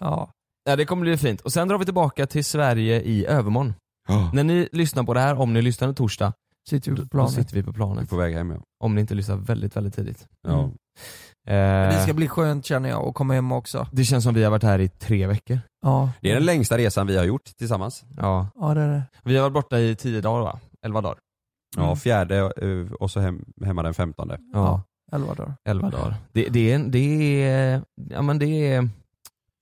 Speaker 3: Ja.
Speaker 2: Ja, det kommer bli fint. Och sen drar vi tillbaka till Sverige i övermorgon. När ni lyssnar på det här, om ni lyssnar på torsdag,
Speaker 3: Sitter vi på
Speaker 2: då
Speaker 3: planet.
Speaker 2: sitter vi på
Speaker 1: Vi är
Speaker 2: planet.
Speaker 1: på väg hem ja.
Speaker 2: Om ni inte lyssnar väldigt, väldigt tidigt.
Speaker 1: ja.
Speaker 3: Mm.
Speaker 2: Eh,
Speaker 3: Det
Speaker 2: det,
Speaker 3: ska bli skönt känner jag att komma hem också.
Speaker 2: känns som vi har varit här i tre veckor.
Speaker 3: Ja,
Speaker 1: Det är den längsta resan vi har gjort tillsammans.
Speaker 2: Ja.
Speaker 3: ja det är det.
Speaker 2: Vi har varit borta i tio dagar va? Elva dagar?
Speaker 3: Mm.
Speaker 1: Ja, fjärde eh, och så hem, hemma den femtonde.
Speaker 2: Ja.
Speaker 3: Elva dagar.
Speaker 2: Elva dagar. Det, det, är, det, är, ja, men det, är,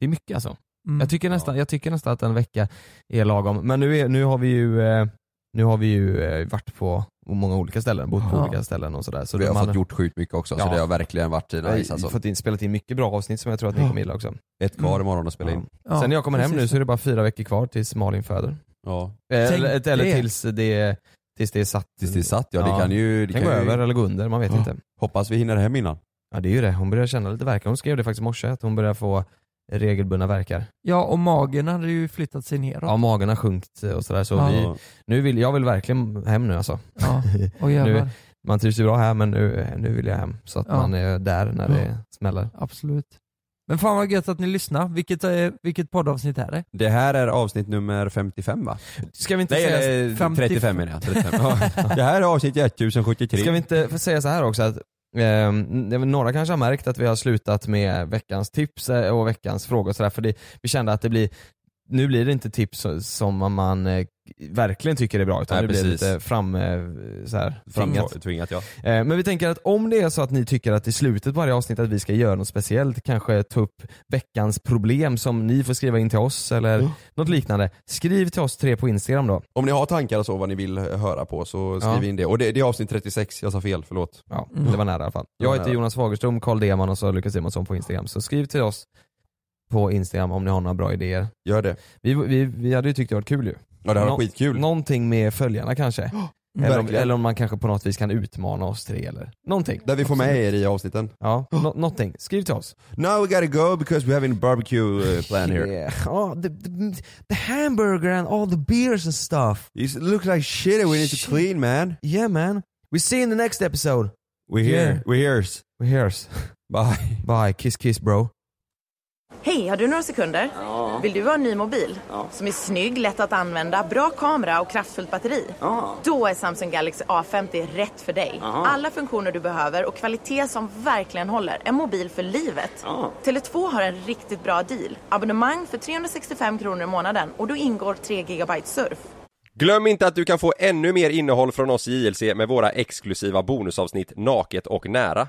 Speaker 2: det är mycket alltså.
Speaker 3: Mm.
Speaker 2: Jag tycker, nästan, jag tycker nästan att en vecka är lagom. Men nu, är, nu har vi ju, eh, nu har vi ju eh, varit på många olika ställen, bott på
Speaker 3: Ja.
Speaker 2: olika ställen och sådär. Så
Speaker 1: vi har
Speaker 2: man-
Speaker 1: fått gjort sjukt mycket också
Speaker 2: Ja.
Speaker 1: så det har verkligen varit nice
Speaker 2: vi har
Speaker 1: alltså.
Speaker 2: fått in, spelat in mycket bra avsnitt som jag tror att ni
Speaker 3: Ja.
Speaker 2: kommer gilla också.
Speaker 1: Ett kvar imorgon att spela in.
Speaker 3: Ja,
Speaker 2: Sen när jag kommer hem
Speaker 3: precis.
Speaker 2: nu så är det bara fyra veckor kvar tills Malin föder.
Speaker 1: Ja.
Speaker 2: Eh,
Speaker 3: Tänk
Speaker 2: Eller, eller
Speaker 3: det.
Speaker 2: tills det Tills det är satt.
Speaker 1: Tills det är satt ja, det kan ju... Det
Speaker 2: kan gå
Speaker 1: ju-
Speaker 2: över eller gå under, man vet
Speaker 1: Ja.
Speaker 2: inte.
Speaker 1: Hoppas vi hinner hem innan.
Speaker 2: Ja det är ju det, hon börjar känna lite värk. Hon skrev det faktiskt i morse, att hon börjar få regelbundna värkar.
Speaker 7: Ja, och magen hade ju flyttat sig neråt.
Speaker 2: Ja magen har sjunkit och sådär så
Speaker 7: Ja.
Speaker 2: vi, nu vill, jag vill verkligen hem nu alltså.
Speaker 7: Ja, och jävlar.
Speaker 2: Nu- Man trivs ju bra här men nu, nu vill jag hem så att
Speaker 7: Ja.
Speaker 2: man är där när det smäller.
Speaker 7: Absolut. Men fan vad gött att ni lyssnar. Vilket, eh, vilket poddavsnitt är det?
Speaker 1: Det här är avsnitt nummer 55 va?
Speaker 2: Ska vi inte
Speaker 1: Nej,
Speaker 2: säga
Speaker 1: eller
Speaker 7: 50
Speaker 1: 35 menar jag. 35. Ja. det här är avsnitt 1073.
Speaker 2: Ska vi inte få säga så här också att eh, några kanske har märkt att vi har slutat med veckans tips eh, och veckans frågor och sådär för det, vi kände att det blir nu blir det inte tips som- som man eh, verkligen tycker är bra utan
Speaker 1: Nej,
Speaker 2: det blir
Speaker 1: precis.
Speaker 2: lite fram, eh, så här,
Speaker 1: Framtvingat.
Speaker 2: framtvingat.
Speaker 1: Tvingat, ja.
Speaker 2: Eh, Men vi tänker att om det är så att ni tycker att i slutet på varje avsnitt att vi ska göra något speciellt, kanske ta upp veckans problem som ni får skriva in till oss eller
Speaker 1: Mm.
Speaker 2: något liknande. Skriv till oss tre på Instagram då.
Speaker 1: Om ni har tankar och så vad ni vill höra på så skriv
Speaker 2: Ja.
Speaker 1: in det. Och det, det är avsnitt 36, jag sa fel, förlåt.
Speaker 2: Ja,
Speaker 7: Mm.
Speaker 2: Det var nära i alla fall.
Speaker 1: Det
Speaker 2: Jag
Speaker 1: var
Speaker 2: heter
Speaker 1: nära.
Speaker 2: Jonas Fagerström, Karl Deman och så Lukas Simonsson på Instagram. Så skriv till oss på Instagram om ni har några bra idéer.
Speaker 1: Gör det.
Speaker 2: Vi, vi, vi hade ju tyckt det var kul ju.
Speaker 1: Ja det här var
Speaker 2: Nå-
Speaker 1: skitkul.
Speaker 2: Någonting med följarna kanske. eller, om,
Speaker 1: verkligen.
Speaker 2: eller om man kanske på något vis kan utmana oss tre eller någonting.
Speaker 1: Där vi får med er i avsnitten.
Speaker 2: Ja, nå- någonting. Skriv till oss.
Speaker 1: Now we gotta go because we have a barbecue uh, plan here.
Speaker 2: Yeah. Oh, the, the, the hamburger and all the beers and stuff.
Speaker 1: It looks like shit and we need to
Speaker 2: Shit.
Speaker 1: clean man.
Speaker 2: Yeah man. We see you in the next episode.
Speaker 1: We here,
Speaker 2: Yeah.
Speaker 1: we hears.
Speaker 2: We hears.
Speaker 1: Bye.
Speaker 2: Bye, kiss kiss bro.
Speaker 8: Hej, har du några sekunder? Vill du ha en ny mobil? Som är snygg, lätt att använda, bra kamera och kraftfullt batteri? Då är Samsung Galaxy A50 rätt för dig. Alla funktioner du behöver och kvalitet som verkligen håller. En mobil för livet. Tele2 har en riktigt bra deal. Abonnemang för 365 kronor i månaden och då ingår 3 GB surf.
Speaker 9: Glöm inte att du kan få ännu mer innehåll från oss i JLC med våra exklusiva bonusavsnitt Naket och nära.